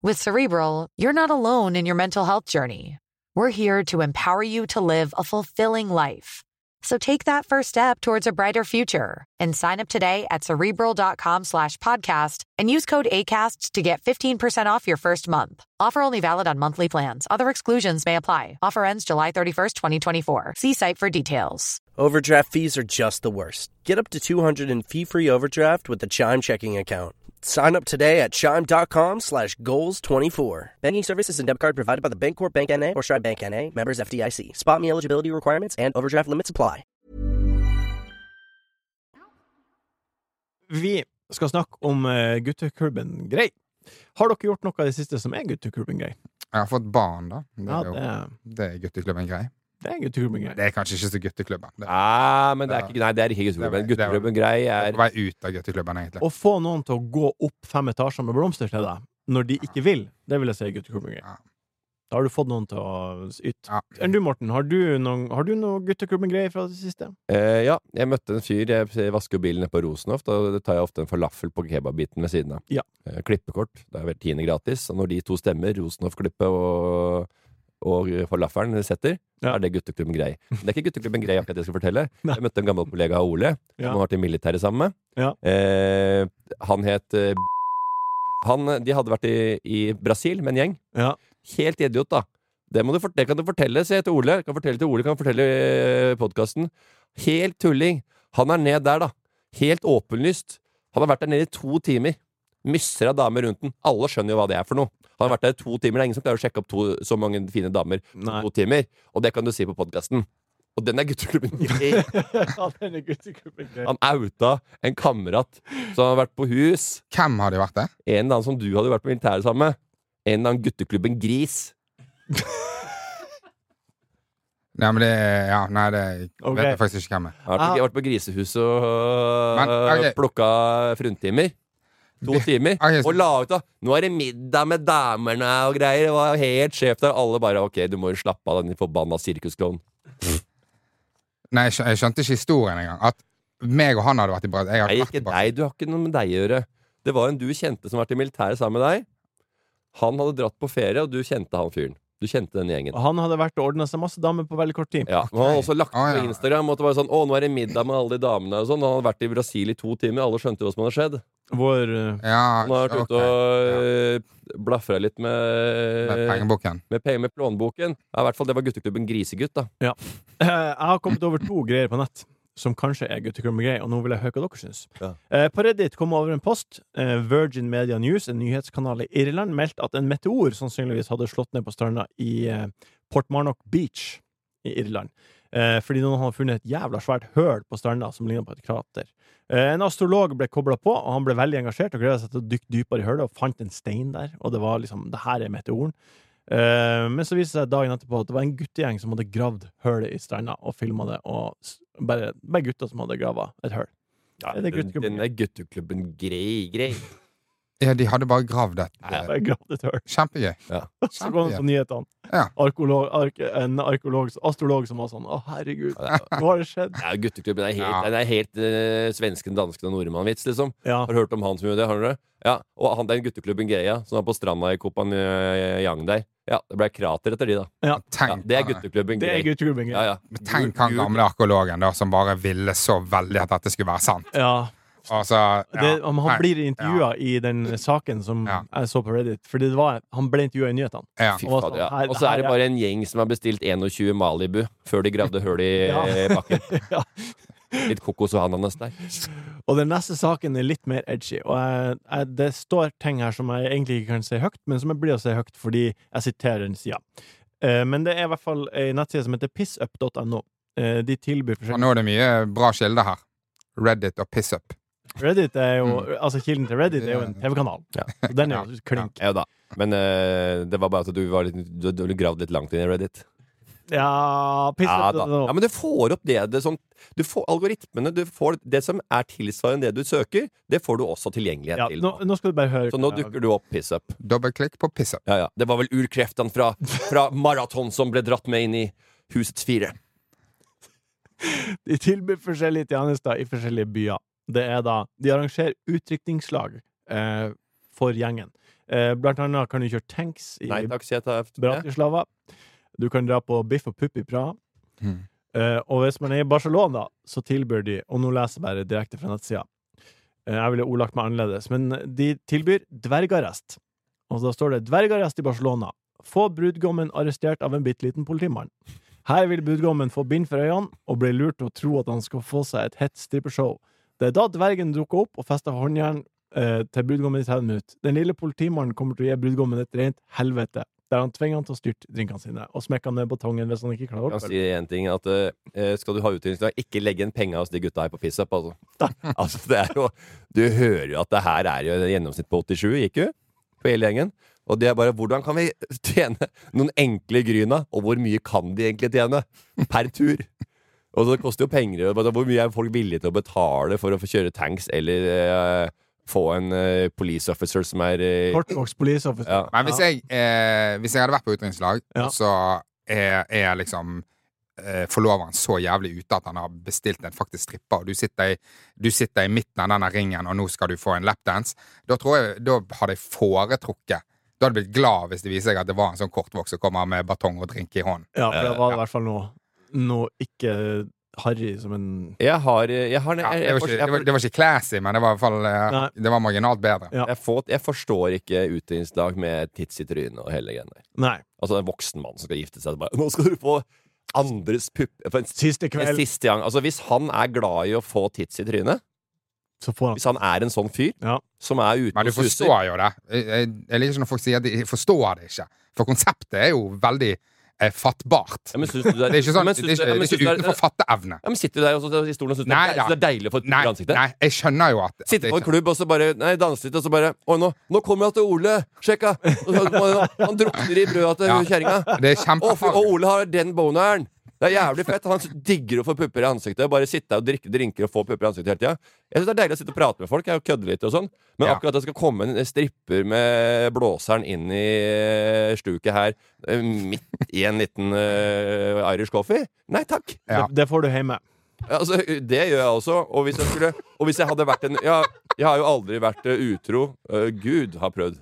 With Cerebral, you're not alone in your mental health journey. We're here to empower you to live a fulfilling life. So take that first step towards a brighter future and sign up today at cerebral.com slash podcast and use code ACAST to get 15% off your first month. Offer only valid on monthly plans. Other exclusions may apply. Offer ends July 31st, 2024. See site for details. Overdraft fees are just the worst. Get up to 200 in fee-free overdraft with the Chime checking account. Sign up today at chime.com slash goals24. Banking services and debit card provided by the Bancorp Bank N.A. or Stride Bank N.A. Members FDIC. Spot me eligibility requirements and overdraft limits apply. Vi skal snakke om eh, gutteklubben Grei. Har dere gjort noe i det siste som er gutteklubben Grei? Jeg har fått barn, da. Det Ja, er, jo, det- det er gutteklubben grei. Det er gutteklubben grei. Det er kanskje ikke så gutteklubben. Det, Nei, Ah, men det er ikke, nei, det er ikke gutteklubben. Det var- det var- Gutteklubben grei det er er på vei ut av gutteklubben, egentlig. Å få noen til å gå opp fem etasjer med blomster til deg når de ikke vil, det vil jeg si er gutteklubben grei. Ja. Da har du fått noen til å yte. Ja. Enn du, Morten, har du noen, har du noe gutteklubben grei fra det siste? Eh, Ja, jeg møtte en fyr. Jeg vasker jo bilen nede på Rosenhoft, og da tar jeg ofte en falafel på kebabbiten ved siden av. Ja. Eh, Klippekort. Det er vel tiende gratis. Og når de to stemmer, Rosenhoff-klippet og, og falafelen setter, Ja. er det gutteklubben grei. Men Det er ikke gutteklubben grei akkurat det jeg skal fortelle. Nei. Jeg møtte en gammel kollega av Ole, Ja. som han har vært i militæret sammen med. Ja. Eh, han het eh, han, De hadde vært i, i Brasil med en gjeng. Ja. Helt idiot, da. Det, må du, fort- det kan du fortelle, sier jeg til Ole. Kan fortelle til Ole, kan fortelle podkasten. Helt tulling. Han er ned der, da. Helt åpenlyst. Han har vært der nede i to timer. Mysser av damer rundt den. Alle skjønner jo hva det er for noe. Han har vært der i to timer. Det er ingen som klarer å sjekke opp to, så mange fine damer på Nei. to timer. Og det kan du si på podkasten. Og den er gutteklubben. ja, den er gutteklubben grei. Han outa en kamerat som har vært på hus. Hvem har de vært det? En eller annen som du hadde vært på militæret sammen med. En eller annen gutteklubben Gris. Nei, men det ja, nei, det Ok. vet jeg faktisk ikke hvem er. Jeg har vært på, jeg har vært på grisehuset og øh, Ah. Men, ok. plukka fruntimer. To Det- timer. ok, så- Og la ut da Nå er det middag med damene og greier. Det var helt sjef der. Alle bare OK, du må jo slappe av, den forbanna sirkusklovnen. Nei, jeg skjø- jeg skjønte ikke historien engang. At meg og han hadde vært i Brasil. Jeg har Nei, ikke vært ikke i Brasil. deg. Du har ikke noe med deg å gjøre. Det var en du kjente som har vært i militæret sammen med deg. Han hadde dratt på ferie, og du kjente han fyren. Du kjente den gjengen. Han hadde vært og ordna seg masse damer på veldig kort tid. Ja, men Han har også lagt Ah, på ja. Instagram at det var sånn Å, nå er det middag med alle de damene og sånn. Han hadde vært i Brasil i to timer. Alle skjønte hva som hadde skjedd. Vår eh, Ja, Han har vært ute ok. og ja. blafra litt Det er med Pengebukken. med penger med plånboken. Ja, I hvert fall det var gutteklubben Grisegutt, da. Eh, Jeg har kommet over to greier på nett som kanskje er gutteklubben-greier, og nå vil jeg høre hva dere syns. Ja. Eh, På Reddit kom jeg over en post. Eh, Virgin Media News, en nyhetskanal i Irland, meldte at en meteor sannsynligvis hadde slått ned på stranda i eh, Port Marnock Beach i Irland. Eh, Fordi noen hadde funnet et jævla svært høl på stranda som lignet på et krater. Eh, En astrolog ble kobla på, og han ble veldig engasjert og gleda seg til å dykke dypere i hølet, og fant en stein der, og det var liksom Det her er meteoren. Eh, Men så viste det seg dagen etterpå at det var en guttegjeng som hadde gravd hølet i stranda og filma det, og s- bare, bare gutter som hadde grava et høl. Er det gutteklubben? Denne gutteklubben grei, grei. Ja, de hadde bare gravd et Bare gravd et høl. Kjempegøy. Så kom det på nyhetene. Ja. Arkeolog, ark, en arkeolog, astrolog som var sånn Å, herregud, nå har det skjedd. Ja, gutteklubben er helt, Ja. den er helt eh, svensken, dansken og nordmann-vits, liksom. Ja. Har du hørt om han som gjorde det? Har du det? Ja, Og han, den gutteklubben Greia, som var på stranda i Kopanjang der. Ja, det ble krater etter de, da. Ja, Tenk, det er gutteklubben Det Grei. er gutteklubben. Ja, ja. Men Tenk han gamle arkeologen da, som bare ville så veldig at dette skulle være sant. Ja. Altså, ja. Det, om han Nei, blir intervjua i den saken som Ja. jeg så på Reddit, fordi det var, han ble intervjua i nyhetene. ja. Fy Og fader, sånn, her- ja. Og så her er det er- bare en gjeng som har bestilt 21 Malibu før de gravde hull i Ja. eh, bakken. Ja. Litt kokos og ananas der. Og den neste saken er litt mer edgy. Og jeg, jeg, det står ting her som jeg egentlig ikke kan si høyt, men som jeg blir å si høyt fordi jeg siterer den sida. Eh, men det er i hvert fall ei nettside som heter pissup.no. Eh, de tilbyr Og forskjellige nå er det mye bra kilder her. Reddit og pissup. Reddit er jo, altså Kilden til Reddit er jo en TV-kanal. Så Den er jo klink. Mm. Ja da. Men eh, det var bare at du var litt Du, du gravd litt langt inn i Reddit. Ja, Ja, da. pissup.no. ja, men du får opp det, det som du får, Algoritmene du får, Det som er tilsvarende det du søker, det får du også tilgjengelighet Ja, til. nå, nå skal du bare høre så nå dukker du opp pissup. Dobbeltklikk på pissup. Ja, ja. Det var vel urkreftene fra, fra maraton som ble dratt med inn i Husets fire. De tilbyr forskjellige tjenester i forskjellige byer. Det er da, De arrangerer utdrikningslag eh, for gjengen. Eh, blant annet kan du kjøre tanks i Nei takk, sier jeg til FTP. Bratislava. Du kan dra på Biff og Pupp i Praha. Mm. Hmm. Eh, og hvis man er i Barcelona, så tilbyr de Og nå leser jeg bare direkte fra nettsida. Eh, jeg ville ordlagt meg annerledes, men de tilbyr dvergarrest. Og da står det 'dvergarrest i Barcelona'. Få brudgommen arrestert av en bitte liten politimann. Her vil brudgommen få bind for øynene og bli lurt til å tro at han skal få seg et hett strippeshow. Det er da dvergen dukker opp og fester håndjern eh, til brudgommen i 30 minutter. Den lille politimannen kommer til å gi brudgommen et rent helvete, der han tvinger han til å styrte drinkene sine, og smekker han ned batongen hvis han ikke klarer å Jeg kan oppføre si en ting, at eh, Skal du ha utdanningsdag, ikke legg en penge hos de gutta her på FISUP. Altså. altså, det er jo, du hører jo at det her er jo et gjennomsnitt på 87, gikk jo, på hele gjengen. Og det er bare hvordan kan vi tjene noen enkle gryna, og hvor mye kan de egentlig tjene per tur? Og så det koster jo penger. og Hvor mye er folk villige til å betale for å få kjøre tanks eller eh, få en eh, police officer som er eh, Kortvokst police officer. Ja. Men hvis jeg, eh, hvis jeg hadde vært på utenrikslag, Ja. og så er, er liksom eh, forloveren så jævlig ute at han har bestilt en faktisk stripper, og du sitter, i, du sitter i midten av denne ringen, og nå skal du få en lapdance, da tror jeg Da hadde jeg foretrukket Da hadde jeg blitt glad hvis det viser seg at det var en sånn kortvokst som kommer med batong og drink i hånden. Ja, for det var i hvert fall noe, noe ikke harry som en Jeg har, eh, jeg har Ja, det, var ikke, det, var, det var ikke classy, men det var i hvert fall eh, Nei. Det var marginalt bedre. Ja. Jeg, får, jeg forstår ikke utdanningsdag med tits i trynet og hele greia. Nei. Altså en voksen mann som skal gifte seg. Bare, 'Nå skal du få andres pupp for en, Siste en kveld, siste gang.' Altså, hvis han er glad i å få tits i trynet, så får han hvis han er en sånn fyr Ja. som er ute Men du og suser forstår jo det. Jeg, jeg, jeg liker ikke når folk sier at de forstår det ikke. For konseptet er jo veldig eh, fattbart. Ja, men syns du det Det er- er ikke, sånn, men syns det er ikke, du- ja, det men er syns du ikke utenfor fatteevne. Ja, men Sitter du der og så, i stolen og syns det, Nei, er- synes det er deilig å få et Nei, pupp i ansiktet? nei, jeg skjønner jo at Sitte det på en klubb og så bare Nei, danse litt, og så bare Å, nå, nå kommer jeg til Ole! Sjekka! Og så- og- Han drukner i brødet til Ja. kjerringa. Det Å, er fy- Og kjempefarlig. Ole har den boneren! Det er jævlig fett. Han digger å få pupper i ansiktet. Bare sitte der og drikke drinker og få pupper i ansiktet hele tida. Jeg syns det er deilig å sitte og prate med folk. Jeg kødder litt og sånn. Men Ja. akkurat det skal komme en stripper med blåseren inn i eh, stuket her, eh, midt i en liten eh, Irish coffee Nei takk! Ja. Det får du hjemme. Altså, det gjør jeg også. Og hvis jeg, skulle, og hvis jeg hadde vært en ja, Jeg har jo aldri vært eh, utro. Eh, Gud har prøvd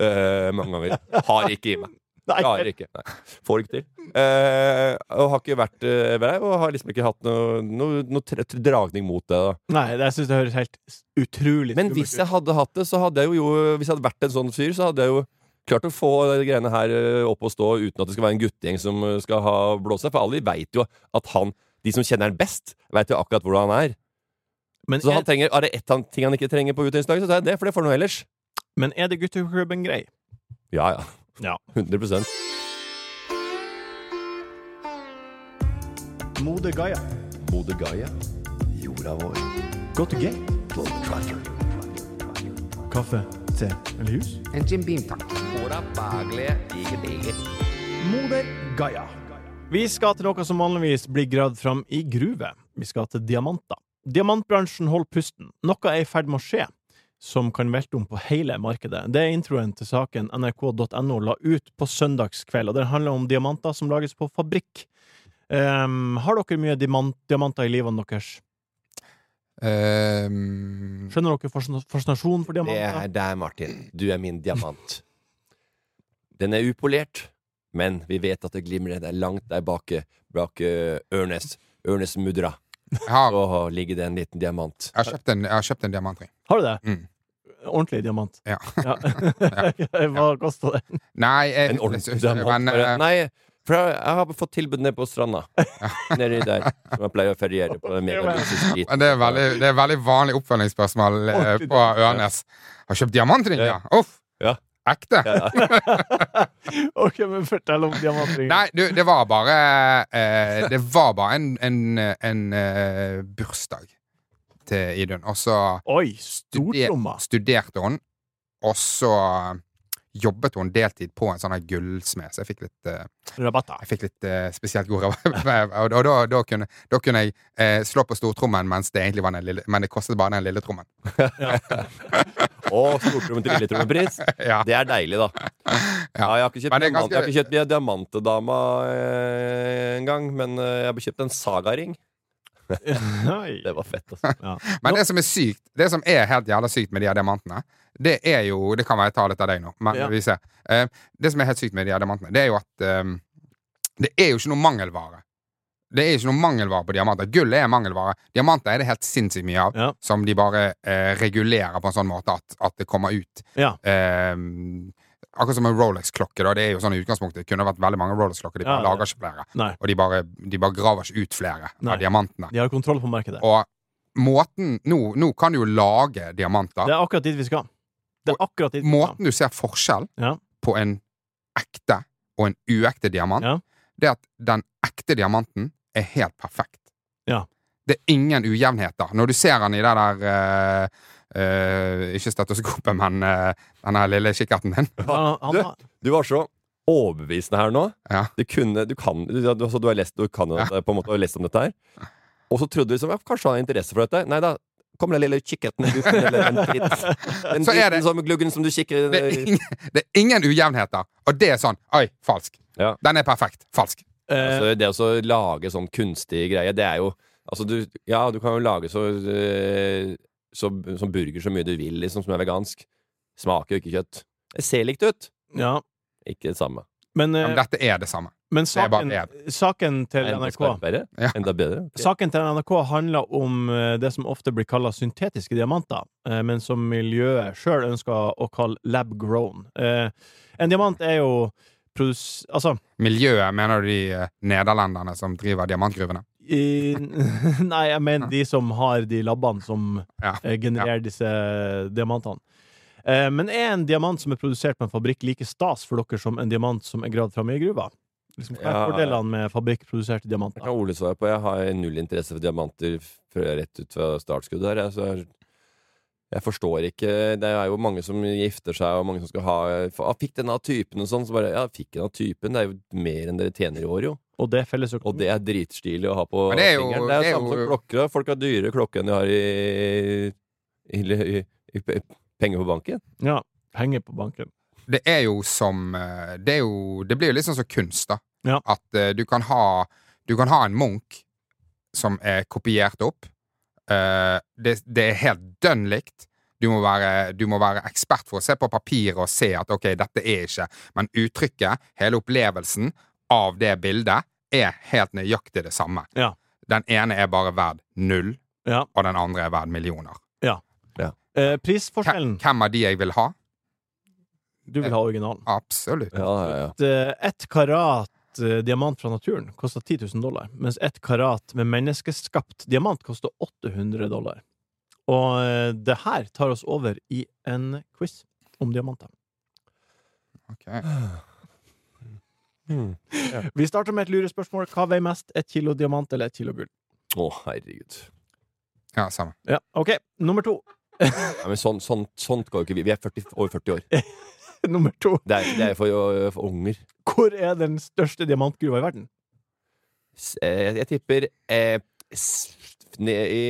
eh, mange ganger. Har ikke i meg. Klarer ikke. Nei. Får ikke til. Eh, og har ikke vært eh, ved deg, og har liksom ikke hatt noe, noe, noe tre- tre- dragning mot det. da Nei, det- jeg syns det høres helt s- utrolig Men skummelt hvis ut. jeg hadde hatt det, så hadde jeg jo, jo Hvis jeg hadde vært en sånn fyr, så hadde jeg jo klart å få de greiene her eh, opp og stå uten at det skal være en guttegjeng som eh, skal ha blåse. For alle veit jo at han De som kjenner han best, veit jo akkurat hvordan han er. Men Så han er, trenger, er det ett han- ting han ikke trenger på utdanningsdagen, så tar jeg det, for det får han noe ellers. men er det gutteklubben grei? Ja, ja. Ja. 100 Mode Gaia. Mode Gaia. Jorda vår. Go to gate. Kaffe, te eller hus? En Jim Beam, takk. Moder Gaia. Vi skal til noe som vanligvis blir gravd fram i gruve. Vi skal til diamanter. Diamantbransjen holder pusten. Noe er i ferd med å skje som kan velte om på hele markedet. Det er introen til saken nrk.no la ut på søndagskveld, og den handler om diamanter som lages på fabrikk. Ehm, har dere mye diamant, diamanter i livene deres? Ehm, Skjønner dere fascina- fascinasjonen for Det diamanter? er deg, Martin. Du er min diamant. Den er upolert, men vi vet at det glimrer der langt der bake, bak eh, Ørnes. Ørnes mudra. jeg, har, Så ligger det en liten diamant. jeg, har kjøpt en, jeg har kjøpt en diamantring. Har du det? Mm. Ordentlig diamant? Ja. Hva kosta det? Nei jeg, En ordentlig jeg- diamant. men, Bare, eh, Nei, for jeg, jeg har fått tilbud nede på stranda. Nedi der. Som jeg pleier å feriere på. Det er megaluxus drit. men det, er veldig, det er veldig vanlig oppfølgingsspørsmål eh, Ordentlig på Ørnes. Har kjøpt diamantring, ja? Uff! Ja. Ekte? Ok, men fortell om diamantringen. Nei, du, det var bare eh, Det var bare en, en, en eh, bursdag til Idun. Og så Oi, studer- stortromma! studerte hun, og så eh, jobbet hun deltid på en sånn her gullsmed. Så jeg fikk litt, eh, Rabatta. jeg fikk litt eh, spesielt god rabatt. og da, da, kunne, da kunne jeg eh, slå på stortrommen, mens det egentlig var den lille, men det kostet bare den lille trommen. Og stortrommen til lilletrommepris. ja. Det er deilig, da. Ja, jeg har ikke kjøpt, Men det er diamant, ganske- jeg har ikke kjøpt diamantedama eh, en gang, men eh, jeg har kjøpt en sagaring. Nei. Det var fett, altså. Men det som er sykt, det som er helt jævla sykt med de her diamantene, det er jo Det kan være jeg tar litt av deg nå, men Ja. vi ser. Eh, det som er helt sykt med de her diamantene, det er jo at eh, det er jo ikke noe mangelvare. Det er ikke noe mangelvare på diamanter. Gull er mangelvare. Diamanter er det helt sinnssykt mye av, Ja. som de bare eh, regulerer på en sånn måte at, at det kommer ut. Ja. Eh, akkurat som en Rolex-klokke. da, Det er jo sånn i utgangspunktet. Det kunne vært veldig mange Rolex-klokker. De Ja, bare ja. lager ikke flere. Nei. Og de bare, de bare graver ikke ut flere Nei. av diamantene. De har kontroll på markedet. Og måten nå, nå kan du jo lage diamanter. Det er akkurat dit vi skal. Det er akkurat dit vi skal. Måten du ser forskjell Ja. på en ekte og en uekte diamant, det er at den ekte diamanten er helt perfekt. Ja. Det er ingen ujevnheter. Når du ser den i det der eh, eh, Ikke stetoskopet, men eh, den her lille kikkerten din. Du, du var så overbevisende her nå. Du kunne Du kan du, du, altså, du har lest, du kan, jo dette, på en måte, har lest om dette her. Og så trodde du liksom, ja, kanskje han har interesse for dette. Nei da. Kommer den lille kikkerten i gutten, eller den dritten, den Så er dritten som gluggen som du kikker Det er, ingen, det er ingen ujevnheter, og det er sånn Oi, falsk. Den er perfekt. Falsk. eh, Altså, det å så lage sånn kunstig greie, det er jo Altså, du Ja, du kan jo lage så, eh, så sånn burger så mye du vil, liksom, som er vegansk. Smaker jo ikke kjøtt. Det ser likt ut. Ja. Ikke det samme. Men, eh, Men dette er det samme. Men Det er bare saken, én. saken til Enda NRK skarpere. Enda bedre. Ok. Saken til NRK handler om eh, det som ofte blir kalla syntetiske diamanter, eh, men som miljøet sjøl ønsker å kalle lab-grown. Eh, En diamant er jo produs... Altså Miljøet, mener du de eh, nederlenderne som driver diamantgruvene? i, Nei, jeg mener de som har de labbene som eh, genererer disse diamantene. Eh, Men er en diamant som er produsert på en fabrikk, like stas for dere som en diamant som er gravd fram i gruva? Liksom, hva er Ja. fordelene med fabrikkproduserte diamanter? Det kan Ole svare på. Jeg har null interesse for diamanter før rett ut fra startskuddet her. Jeg, så jeg, jeg forstår ikke Det er jo mange som gifter seg, og mange som skal ha ah, 'Fikk denne typen?' og sånn. Så bare Ja, fikk denne typen. Det er jo mer enn dere tjener i år, jo. Og det er fellesøkonomi. Og det er dritstilig å ha på Men det er jo- fingeren. Det er det er jo samme jo- som klokker. da. Folk har dyrere klokke enn de har i, i, i, i, i penger på banken. Ja. Penger på banken. Det er jo som eh, Det, er jo, det blir jo litt sånn som kunst, da. Ja. At eh, du kan ha Du kan ha en Munch som er kopiert opp. Eh, det, det er helt dønn likt. Du må, være, du må være ekspert for å se på papiret og se at ok, dette er ikke Men uttrykket, hele opplevelsen av det bildet, er helt nøyaktig det samme. Ja. Den ene er bare verd null, Ja. og den andre er verd millioner. Ja. Eh, prisforskjellen Hvem av de jeg vil ha? Du vil ha originalen. Absolutt. At, eh, Ett karat eh, diamant fra naturen koster 10 000 dollar, mens ett karat med menneskeskapt diamant koster 800 dollar. Og eh, det her tar oss over i en quiz om diamanter. Vi starter med et lurespørsmål. Hva veier mest, et kilo diamant eller et kilo gull? Å, herregud. Ja, samme. Ja, OK. Nummer to. Nei, men sånn, sånn, sånt går jo ikke vi. Vi er 40, over 40 år. Nummer to. Det er, det er for, øh, for unger. Hvor er den største diamantgruva i verden? S- eh, Jeg tipper eh, s- ned i,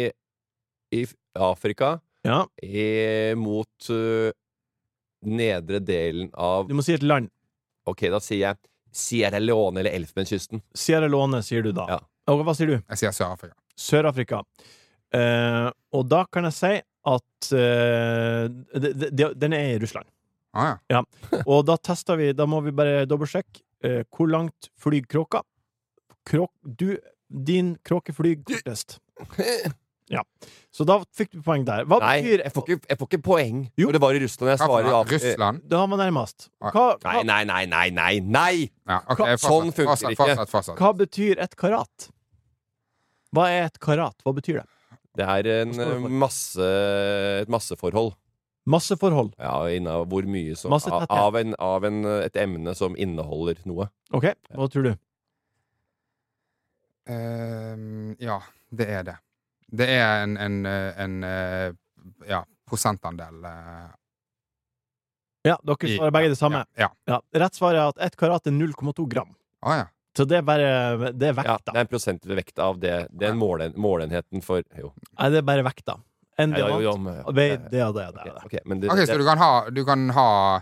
i Afrika eh, mot eh, nedre delen av Du må si et land. Ok, da sier jeg Sierra Leone eller Elfenbenskysten. Sierra Leone, sier du da. Og hva sier du? Jeg sier Sør-Afrika. Sør-Afrika. Eh, og da kan jeg si at eh, de, de, de, den er i Russland. Ah, ja. Og da tester vi Da må vi bare dobbeltsjekke. Eh, hvor langt flyr kråka? Kråk, du, din kråke flyr kortest. Ja. Så da fikk du poeng der. Hva Nei, betyr jeg får ikke, jeg får ikke poeng. Og det var i Russland. Jeg svarer ja. Da var nærmest. Nei, nei, nei, nei, nei! nei. ok, fortsatt, sånn funker fortsatt, det ikke. fortsatt, Hva betyr et karat? Hva er et karat? Hva betyr det? Det er Hva en står det for? eh, masse, et masseforhold. Masseforhold. Ja, inna, hvor mye som Masse av, tetthet. av, en, av en, et emne som inneholder noe. OK, hva tror du? Ehm, ja, det er det. Det er en, en, eh, en eh, ja, prosentandel eh, Ja, dere I- svarer begge det samme. ja, Ah, Rett svar er at ett karat er 0,2 gram. Så det er bare det er Ja, vekta. det er en prosent ved vekta av det. Den målen, målenheten for Jo. Nei, det er bare vekta. En Ja, ja, jo, diamant jo, men- veier det og det. og det, og det. Ok, men det, OK, så det, du kan ha, du kan ha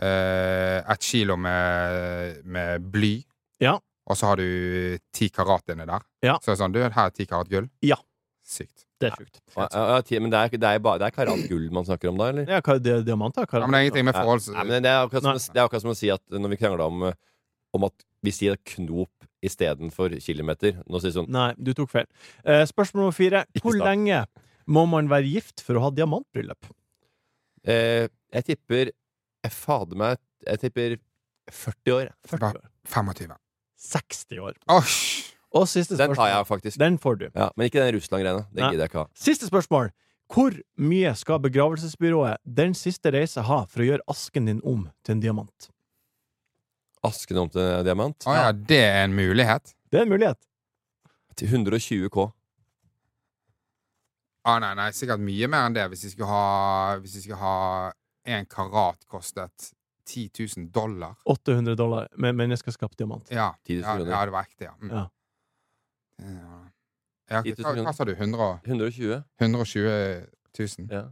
eh, ett kilo med, med bly, Ja. og så har du ti karat inni der. Ja. Så er det sånn, du, her er ti karat gull. Ja. Sykt. Det er sjukt. Ja, ja, ti- men det er, det, er bare, det er karat gull man snakker om da, eller? Ja, hva er det diamanter? Karat? Nei, nei, men det, er akkurat som, å- det er akkurat som å si at når vi krangla om, eh, om at vi sier knop istedenfor kilometer Nå sier vi sånn Nei, du tok feil. Eh, spørsmål nummer fire. Hvor start. lenge må man være gift for å ha diamantbryllup? eh, Jeg tipper Jeg fader meg Jeg tipper 40 år. 25. 60 år. Og siste Den spørsmål. tar jeg faktisk. Den får du. Ja, men ikke den Russland-greiene. Det Nei. gidder jeg ikke ha. Siste spørsmål. Hvor mye skal begravelsesbyrået den siste reisa ha for å gjøre asken din om til en diamant? Asken om til diamant? Å ja, det er en mulighet. Det er en mulighet. Til 120 K. Ah, nei, nei, sikkert mye mer enn det hvis de skulle ha Hvis de skulle ha en karat kostet 10 000 dollar. 800 dollar med menneskeskapt diamant. Ja, 10 000 ja, kroner. ja det var ekte, ja. Mm. Ja. ja ok, 10 000 hva, hva sa du? 100, 120? 120 000? Ja.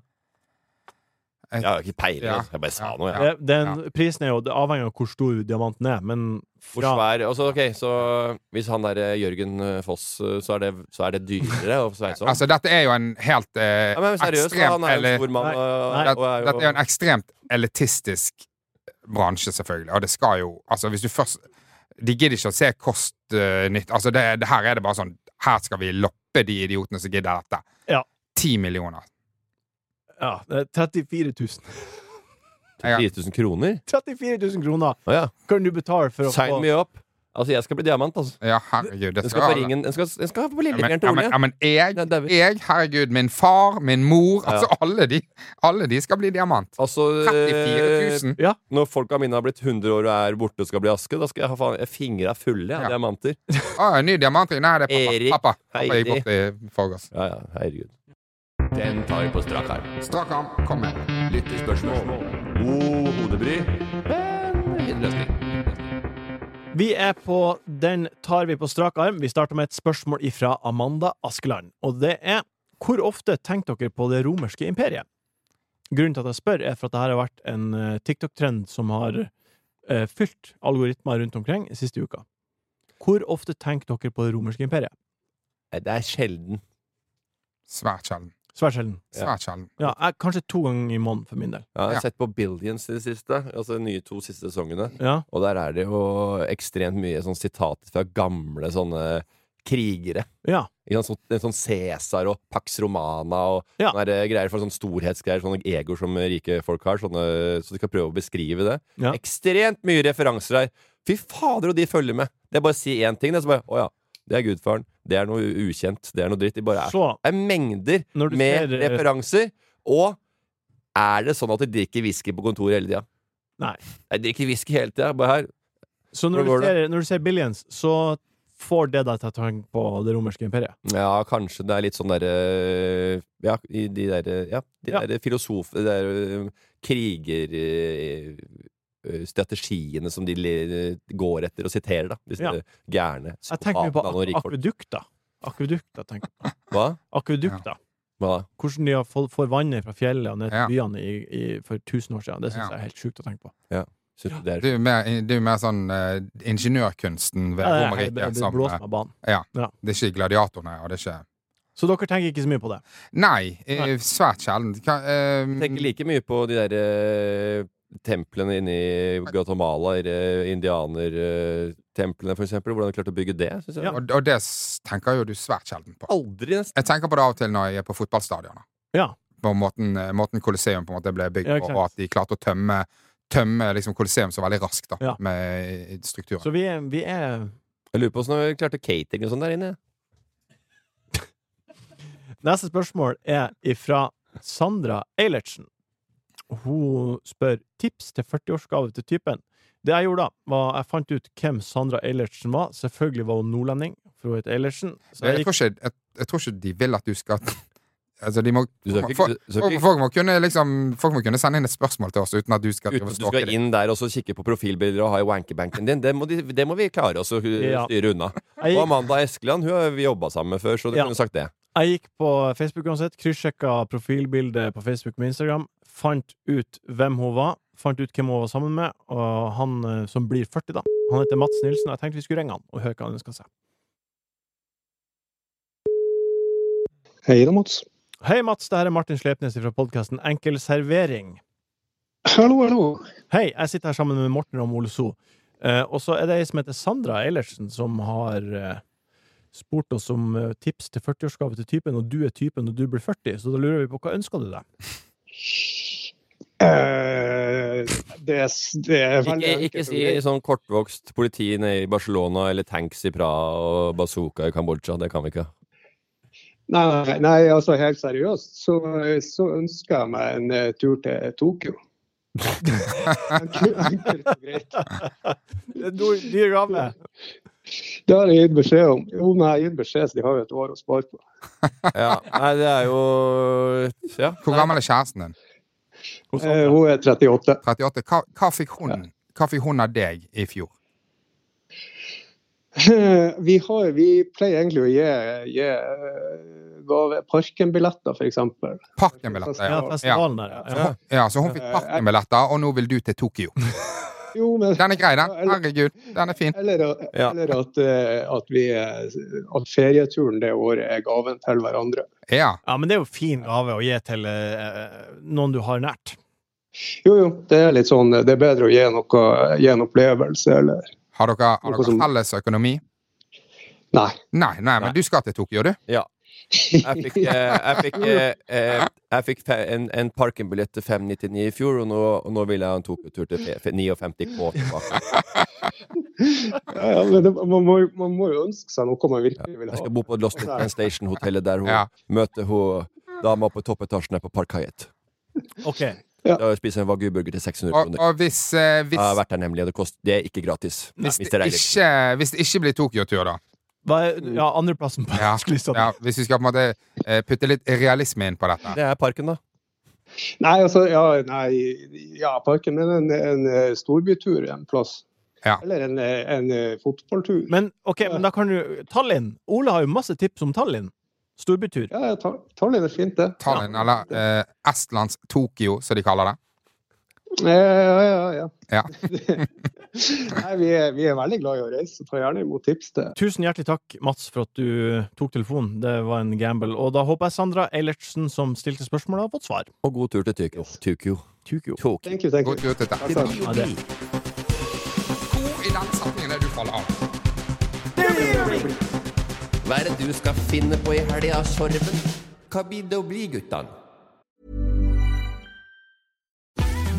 Jeg- Jeg har ikke peiling. Ja. altså. Jeg bare sa Ja. noe, jeg. Det- Eh, Den prisen er jo det avhenger av hvor stor diamanten er, men Hvor fra svær altså, Ok, så hvis han der eh, Jørgen eh, Foss, eh, så er det, så er det dyrere å sveise om? Altså, dette er jo en helt eh, sånn. ja, men seriøst, da, ekstremt han er jo eller- en stor mann. Nei, og- nei. Det- og er jo- Dette er jo en ekstremt elitistisk bransje, selvfølgelig. Og det skal jo Altså, hvis du først De gidder ikke å se kost eh, nytt. Altså, det, det her er det bare sånn Her skal vi loppe de idiotene som gidder dette. Ja. 10 millioner. ja, det er 34 000. Jeg, 4000 kroner? 34 000 kroner Å ja. kan du betale for å Sign få me up! Altså, jeg skal bli diamant, altså. ja, herregud. Det Den skal på jeg ha. ringen Den skal, den skal på Ja, men, lillefingeren til ja, men, Ole. ja, men jeg, Ja, David. jeg, herregud, min far, min mor Altså, alle de, alle de skal bli diamant. Altså, 34 000. Ja, når folka mine har blitt 100 år og er borte og skal bli aske, da skal jeg ha faen jeg fingra fulle av Ja. diamanter. Å, en ny diamantring. Nei, det er Erik, pappa. Pappa, pappa Heidi. gikk bort i forgårs. Ja, ja, herregud. Den tar vi på strak arm. Strak arm. Kom med. Lyttespørsmål. God hodebry, men fin løsning. Vi er på Den tar vi på strak arm. Vi starter med et spørsmål ifra Amanda Askeland. Og det er Hvor ofte tenker dere på det romerske imperiet? Grunnen til at jeg spør, er for at det her har vært en eh, TikTok-trend som har eh, fylt algoritmer rundt omkring siste uka. Hvor ofte tenker dere på det romerske imperiet? Nei, Det er sjelden. Svært sjelden. Svært sjelden. Svært sjelden. Ja, jeg, kanskje to ganger i måneden for min del. Ja, jeg Ja. har sett på Billions i det siste, altså de nye to siste sesongene. Ja, Og der er det jo ekstremt mye sånn sitater fra gamle sånne krigere. ja. Ikke sant? Sånn, en sånn Cæsar og Pax Romana og Ja. sånne der greier for sånne storhetsgreier, sånne egoer som rike folk har. Sånne, så de kan prøve å beskrive det. Ja. Ekstremt mye referanser her. Fy fader, og de følger med! Det er bare å si én ting, det er så bare Å ja, det er gudfaren. Det er noe u- ukjent. Det er noe dritt. De bare er, Så det er mengder Når du med ser, eh, referanser. Og er det sånn at de drikker whisky på kontoret hele tida? Nei. Jeg drikker whisky hele tida. Bare her. Så når Hvor du, går ser, når du ser Billions, så får det deg til å tenke på det romerske imperiet. Ja, kanskje det er litt sånn derre Ja, i de derre ja, de Ja. der filosof... De der øh, kriger... øh, øh, Strategiene som de le- går etter og siterer, da. Disse Ja. gærne Jeg tenker mye på psykopatene ak- og rikfolk. akvedukter. Akvedukter, tenker jeg. Hva? Akvedukter. Hva da? Hvordan de har fått- får vannet fra fjellet og ned til Ja. byene i, i, for 1000 år siden. Det syns Ja. jeg er helt sjukt å tenke på. Syns du det er Det er jo mer, det er jo mer sånn eh, ingeniørkunsten ved Ja, det er- jeg Romerriket. blir som, blåst eh, meg av banen. Det er ikke gladiatorene, og det er ikke Så dere tenker ikke så mye på det? Nei, eh, Nei. svært sjelden. Hva, eh, Jeg tenker like mye på de derre templene inne i Guatemala, indianertemplene for eksempel. Hvordan de klarte å bygge det, syns jeg. Ja. og, og det s- tenker jo du svært sjelden på. Aldri, nesten. Jeg tenker på det av og til når jeg er på fotballstadioner. Ja. På måten, eh, måten Colosseum på en måte ble bygd Ja, på, klart. og at de klarte å tømme Tømme liksom Colosseum så veldig raskt da, Ja. med strukturen. Så vi er, vi er Jeg lurer på hvordan vi klarte catering og sånn der inne. Neste spørsmål er ifra Sandra Eilertsen. Hun spør tips til 40-årsgave til typen. Det jeg gjorde da, var jeg fant ut hvem Sandra Eilertsen var. Selvfølgelig var hun nordlending, for hun het Eilertsen. Så jeg, jeg gikk tror ikke, jeg, jeg tror ikke de vil at du skal Altså, de må Du skal ikke- folk, du skal ikke- folk, må kunne, liksom, folk må kunne sende inn et spørsmål til oss uten at du skal Uten at du skal inn der og så kikke på profilbilder og ha i wankebanken din. Det må, de, det må vi klare oss å hu- Ja. styre unna. jeg gikk, Og Amanda Eskeland hun har vi jobba sammen med før, så du Ja. kunne sagt det. jeg gikk på Facebook uansett, kryssjekka profilbildet på Facebook med Instagram, fant ut hvem hun var, fant ut hvem hun var sammen med, og han eh, som blir 40 da, han heter Mats Nilsen, og jeg tenkte vi skulle ringe han og høre hva han ønsker seg. Hei da, Mats. Hei Mats, det her er Martin Slepnes fra podkasten Enkel servering. Hallo, hallo. Hei, jeg sitter her sammen med Morten og Ole So. Eh, og så er det ei som heter Sandra Eilertsen, som har eh, spurt oss om eh, tips til 40-årsgave til typen, og du er typen og du blir 40, så da lurer vi på hva ønsker du deg? Eh, det, er s- det er veldig Ikke, ikke enkelt og si greit. sånn kortvokst politi nede i Barcelona eller tanks i Praha og bazooka i Kambodsja. Det kan vi ikke. Nei, nei, nei, altså helt seriøst, så, så ønsker jeg meg en eh, tur til Tokyo. Enkelt og greit. Det er dyr- dyr gave. Det har jeg gitt beskjed om. Jo, men jeg har gitt beskjed, så de har jo et år å spare på. Ja, nei, det er jo ja. Hvor gammel er kjæresten din? Sånn, Eh, hun er 38. 38. Hva, hva, fikk hun, hva fikk hun av deg i fjor? Eh, Vi, har, vi pleier egentlig å gi, gi eh, gave Parken-billetter, f.eks. Parken-billetter, Ja, festivalen der, ja. Ja. Ja, så hun fikk parkenbilletter, og nå vil du til Tokyo. Jo, men Den er grei, den. Herregud, den er fin. Eller, eller at, eh, at, vi, eh, at ferieturen det året er gaven til hverandre. Ja. Ja, men det er jo fin gave å gi til eh, noen du har nært. Jo, jo, det er litt sånn eh, Det er bedre å gi noe, gi en opplevelse, eller Har dere, har Noe dere som- felles økonomi? Nei. Nei, nei, men du skal til Tokyo, du. Ja. Jeg fikk, eh, jeg fikk, eh, eh, jeg fikk fe- en, en parkingbillett til 599 i fjor, og nå, og nå vil jeg ha en Tokyo-tur til fe- fe- 59K tilbake. Ja, ja, men det, man, må, jo- man må jo ønske seg noe man virkelig vil Jeg ha. skal bo på Lost in Translation-hotellet der hun møter hun dama på toppetasjen her på Park Hyatt. OK. Da spiser jeg en wagyu-burger til 600 Og, kroner. og hvis, eh, Jeg har hvis, vært liksom. der nemlig, og det, kost, det er ikke gratis. hvis, hvis det det er litt. ikke, hvis det ikke blir Tokyo-tur, da? Hva er ja, andreplassen på Ja, liksom- ønskelista? ja, hvis vi skal på en måte eh, putte litt realisme inn på dette. Det er parken, da. Nei, altså, ja, nei, ja Parken, men en, en eh, storbytur en plass. Ja. Eller en, eh, en eh, fotballtur. Men ok, men da kan du Tallinn. Ole har jo masse tips om Tallinn. Storbytur. Ja, ja, Ta- Tallinn er fint, det. Tallinn, eller eh, Estlands Tokyo, som de kaller det. Ja, ja, ja. ja. Ja. Nei, vi er, vi er veldig glad i å reise, så ta gjerne imot tips til Tusen hjertelig takk, Mats, for at du tok telefonen. Det var en gamble. Og da håper jeg Sandra Eilertsen, som stilte spørsmålet, har fått svar. Og god tur til Tykyo. Tykyo. Tukyo. Tokyo. Thank you, thank you. God tur til deg. Takk, Altså- takk. Ja, det. Hvor i den setningen er du faller av? Hva er det du skal finne på i helga, Sorven? Hva blir det å bli, guttan?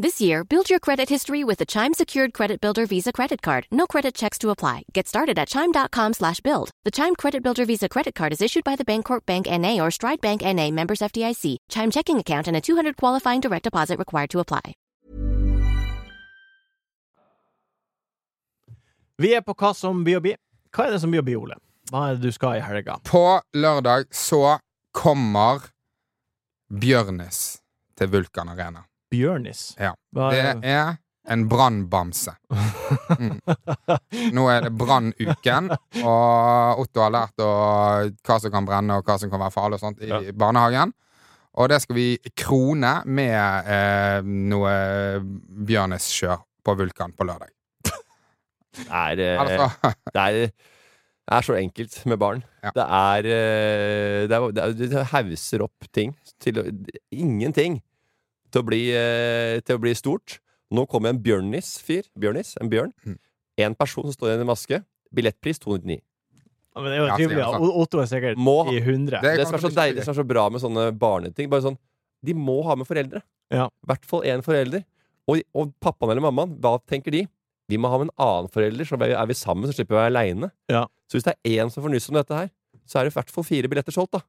This year, build your credit history with the Chime Secured Credit Builder Visa Credit Card. No credit checks to apply. Get started at Chime.com slash build. The Chime Credit Builder Visa Credit Card is issued by the Bancorp Bank N.A. or Stride Bank N.A. members FDIC. Chime checking account and a 200 qualifying direct deposit required to apply. Vi er på hva som blir å bli. Hva er det som blir å bli, Ole? Hva er det du skal i helga? På lørdag så kommer Bjørnis til Vulkan Arena. Bjørnis. Ja. Hva Det er, er en brannbamse. Mm. Nå er det brannuken, og Otto har lært å, hva som kan brenne og hva som kan være farlig og sånt i barnehagen. Og det skal vi krone med eh, noe bjørneskjør på Vulkan på lørdag. Det er, eh, Altså, det er, det er så enkelt med barn. Ja. Det er eh, det er- det er- Det hauser opp ting til å- ingenting til å bli, eh, til å bli stort. Nå kommer en bjørnis-fyr. Bjørnis, en bjørn. Mm. En person som står igjen i maske. Billettpris 299. Ja, men det er jo Ja, trivelig. sier han O- Otto er sikkert Må ha- i 100. Det Det, som er kommer så til å bli deilig, det som er så bra med sånne barneting, bare sånn De må ha med foreldre. Ja. I hvert fall én forelder. Og, og pappaen eller mammaen, hva tenker de? Vi må ha med en annen forelder, så er vi sammen, så slipper vi å være aleine. Ja. Så hvis det er én som får nyss om dette her, så er det i hvert fall fire billetter solgt, da.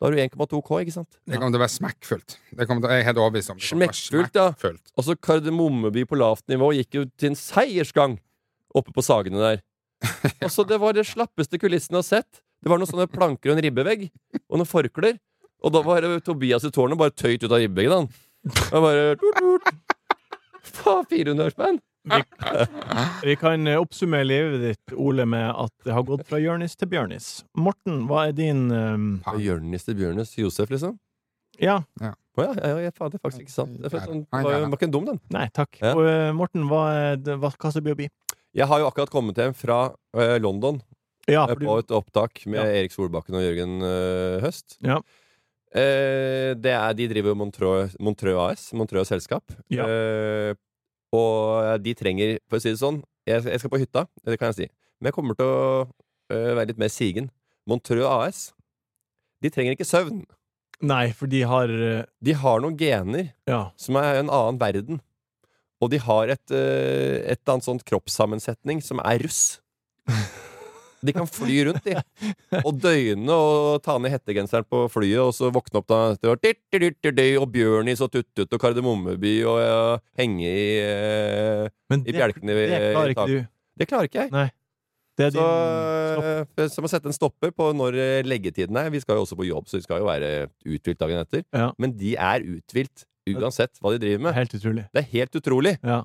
Da har du 1,2K, ikke sant? det kommer til å være smekkfullt. Det kommer til, jeg er helt overbevist om det. kommer til å være Smekkfullt, ja. smekkfullt. Også Kardemommeby på lavt nivå gikk jo til en seiersgang oppe på Sagene der. Altså, det var det slappeste kulissene jeg har sett. Det var noen sånne planker og en ribbevegg, og noen forklær. Og da var det Tobias i tårnet bare tøyt ut av ribbeveggen, han. Og bare tut, tut. Faen, 400 spenn! Vi kan eh, oppsummere livet ditt, Ole, med at det har gått fra Jørnis til Bjørnis. Morten, hva er din eh, Jørnis til Bjørnis Josef, liksom. Ja. Ja. Å ja, ja, ja, faen, det er faktisk ikke sant. Det er sånn, var, jo- var ikke en dum, den. Nei, takk. Og eh, Morten, hva, er det- hva, hva som blir å bli? Jeg har jo akkurat kommet hjem fra eh, London Ja, eh, for du- på et opptak med Ja. Erik Solbakken og Jørgen eh, Høst. Ja. Eh, det er, de driver jo Montreux, Montreux AS, Montreux selskap. Ja. Eh, og eh, de trenger, for å si det sånn Jeg, jeg skal på hytta, eh, det kan jeg si. Men jeg kommer til å eh, være litt mer sigen. Montreux AS De trenger ikke søvn. Nei, for de har eh, De har noen gener Ja. som er en annen verden. Og de har et, eh, et eller annet sånt kroppssammensetning som er russ. De kan fly rundt, de. Og døgne og ta ned hettegenseren på flyet, og så våkne opp da etter hvert, «Dyrt, dyrt, dyrt, dyrt», Og Bjørnis og Tuttut og Kardemommeby og ja, henge i, eh, i bjelkene i- det klarer i ikke tak. du. Det klarer ikke jeg. Nei. Det er så, eh, så må jeg sette en stopper på når eh, leggetiden er. Vi skal jo også på jobb, så vi skal jo være uthvilt dagen etter. Ja. Men de er uthvilt uansett hva de driver med. Helt utrolig. Det er helt utrolig. Ja.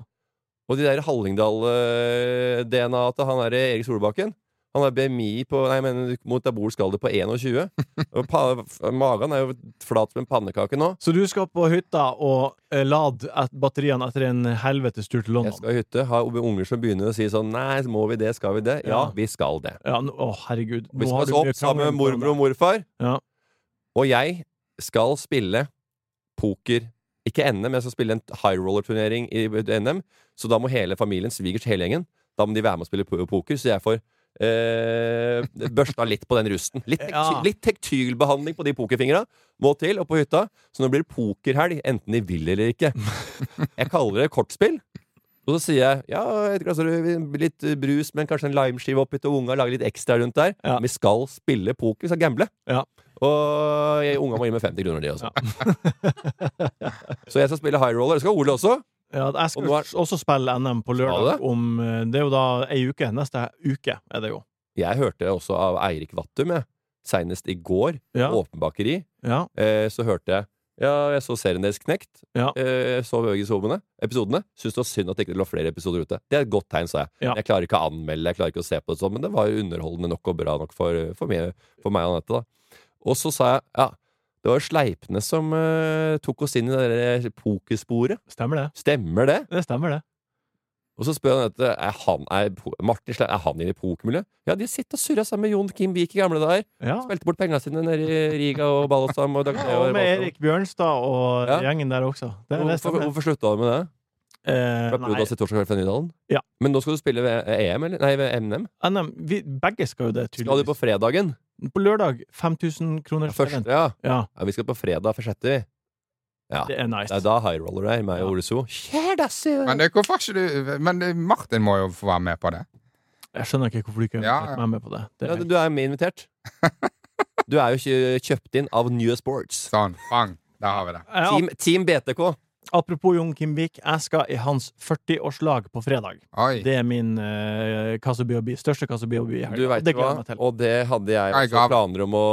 Og de der Hallingdal-DNA til han der Erik Solbakken Han har BMI på Nei, jeg mener motabol skal det på 21. Og pa, f- magen er jo flat som en pannekake nå. Så du skal på hytta og eh, lade et- batteriene etter en helvetes tur til London? Jeg skal i hytte, har unger som begynner å si sånn Nei, må vi det? Skal vi det? Ja, Ja. vi skal det. Ja, nå, å, herregud. Vi har du skal stå mye opp sammen med krangling på mormor og morfar. Ja. Og jeg skal spille poker. Ikke NM, jeg skal spille en high roller-turnering i NM. Så da må hele familien, svigers hele gjengen, da må de være med og spille po- poker. Så jeg får eh, børsta litt på den rusten. Litt, tek Ja. litt tektylbehandling på de pokerfingra må til, og på hytta. Så nå blir det pokerhelg, enten de vil eller ikke. Jeg kaller det kortspill. Og så sier jeg ja, et glass rødvin, litt eh, brus, men kanskje en limeskive oppi til unga. Lager litt ekstra rundt der. Vi skal spille poker, vi skal gamble. Og jeg, unga må gi meg 50 kroner, de også. så jeg skal spille high roller. Det skal Ole også. Ja, jeg skal også spille NM på Skal lørdag du om eh, Det er jo da ei uke. Neste uke er det jo. Jeg hørte også av Eirik Vattum, jeg. Seinest i går. Ja. Åpen bakeri. Ja. Eh, så hørte jeg Ja, jeg så serien deres Knekt. Ja. Eh, jeg så episodene. episodene. Syns det var synd at det ikke lå flere episoder ute. Det er et godt tegn, sa jeg. Ja. Jeg klarer ikke å anmelde, jeg klarer ikke å se på det sånn, men det var jo underholdende nok og bra nok for, for, meg, for meg og Anette, da. Og så sa jeg ja, det var jo Sleipnes som eh, tok oss inn i det der pokersporet. Stemmer det. Stemmer det? Det stemmer, det. Og så spør han etter er han, er, po- Martin Sleip, er han inne i pokermiljøet. Ja, de sitter og surrer sammen med Jon Kim Vik i gamle dager. Spilte bort penga sine nede i Riga og Ballestam. Og, Dag- Og med Ballestam. Erik Bjørnstad og Ja. gjengen der også. Det, det Hvorfor, stemmer. hvorfor slutta du med det? Eh, Slapp du nei. da sitt torsdag kveld fra Nydalen? Ja. Men nå skal du spille ved EM, eller? Nei, ved NM. NM, vi, begge skal jo det, Skal du tydeligvis. på fredagen? På lørdag 5000 kroner. Første, ja. Ja, Vi skal på fredag for sjette, vi. Ja. Det er nice. da high roller er meg og Ole So. Men det, hvorfor ikke du Men eh, Martin må jo få være med på det. Jeg skjønner ikke hvorfor du ikke har Ja, vært ja. med meg på det. det Ja, du er jo med invitert. Du er jo ikke kjøpt inn av New Sports. Sånn. Bang. Da har vi det. Team, team BTK. Eh, Apropos Jon Kim Vik, jeg skal i hans 40-årslag på fredag. Oi. Det er min uh, Kasabiobi, største Kasabiobi i helga. Du vet Det hva, gleder jeg meg til. og det hadde jeg Nei, også gav. planer om å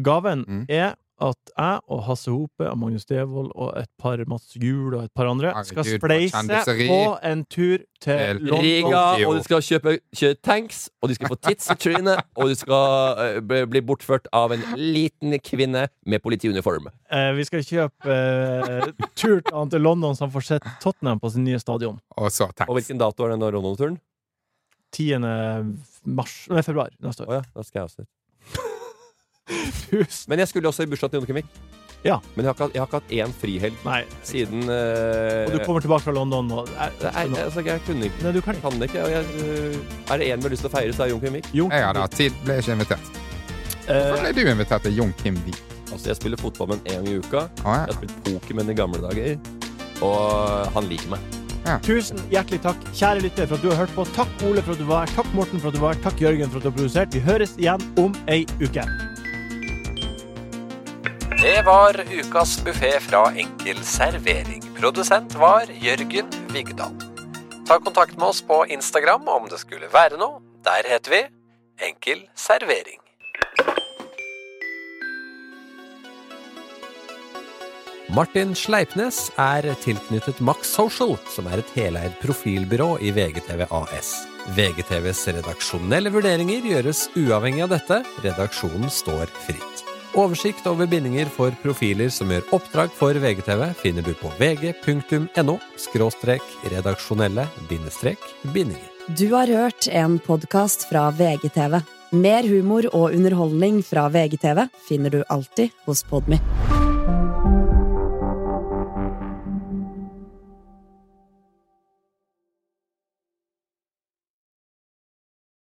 Gaven Mm. er at jeg og Hasse Hope og Magnus Devold og et par Mats Juel og et par andre skal Herregud, for spleise kjendiseri. på en tur til London. Riga, og du skal kjøpe kjøre tanks, og du skal få tits i trynet, og du skal eh, bli bli bortført av en liten kvinne med politiuniform. Eh, vi skal kjøpe eh, tur til han til London, så han får sett Tottenham på sin nye stadion. Og så tanks. Og hvilken dato er den da, London-turen? 10. Mars, nei, februar neste år. Å ja, da skal jeg også dit. Men jeg skulle også i bursdagen til Jon Kemik. Ja. Men jeg har ikke, hatt- jeg har ikke hatt én frihelg siden eh, Og du kommer tilbake fra London og det er, altså, Jeg kunne ikke. Nei, du kan Kan ikke. og Jeg, eh, er det én vi har lyst til å feire, så er det Jon Kemik. Jeg hadde hatt tid. Ble ikke invitert. Hvorfor ble du invitert til Jon Kim Vik? Altså, jeg spiller fotball med en gang i uka. ja. Jeg har spilt poker med en i gamle dager. Og han liker meg. Tusen hjertelig takk, kjære lytter, for at du har hørt på. Takk, Ole, for at du var her. Takk, Morten, for at du var her. Takk, Jørgen, for at du har produsert. Vi høres igjen om ei uke. Det var ukas buffé fra Enkel servering. Produsent var Jørgen Vigdal. Ta kontakt med oss på Instagram om det skulle være noe. Der heter vi Enkel servering. Martin Sleipnes er tilknyttet Max Social, som er et heleid profilbyrå i VGTV AS. VGTVs redaksjonelle vurderinger gjøres uavhengig av dette. Redaksjonen står fritt. Oversikt over bindinger for profiler som gjør oppdrag for VGTV, finner du på vg.no redaksjonelle bindinger. Du har hørt en podkast fra VGTV. Mer humor og underholdning fra VGTV finner du alltid hos Podmy.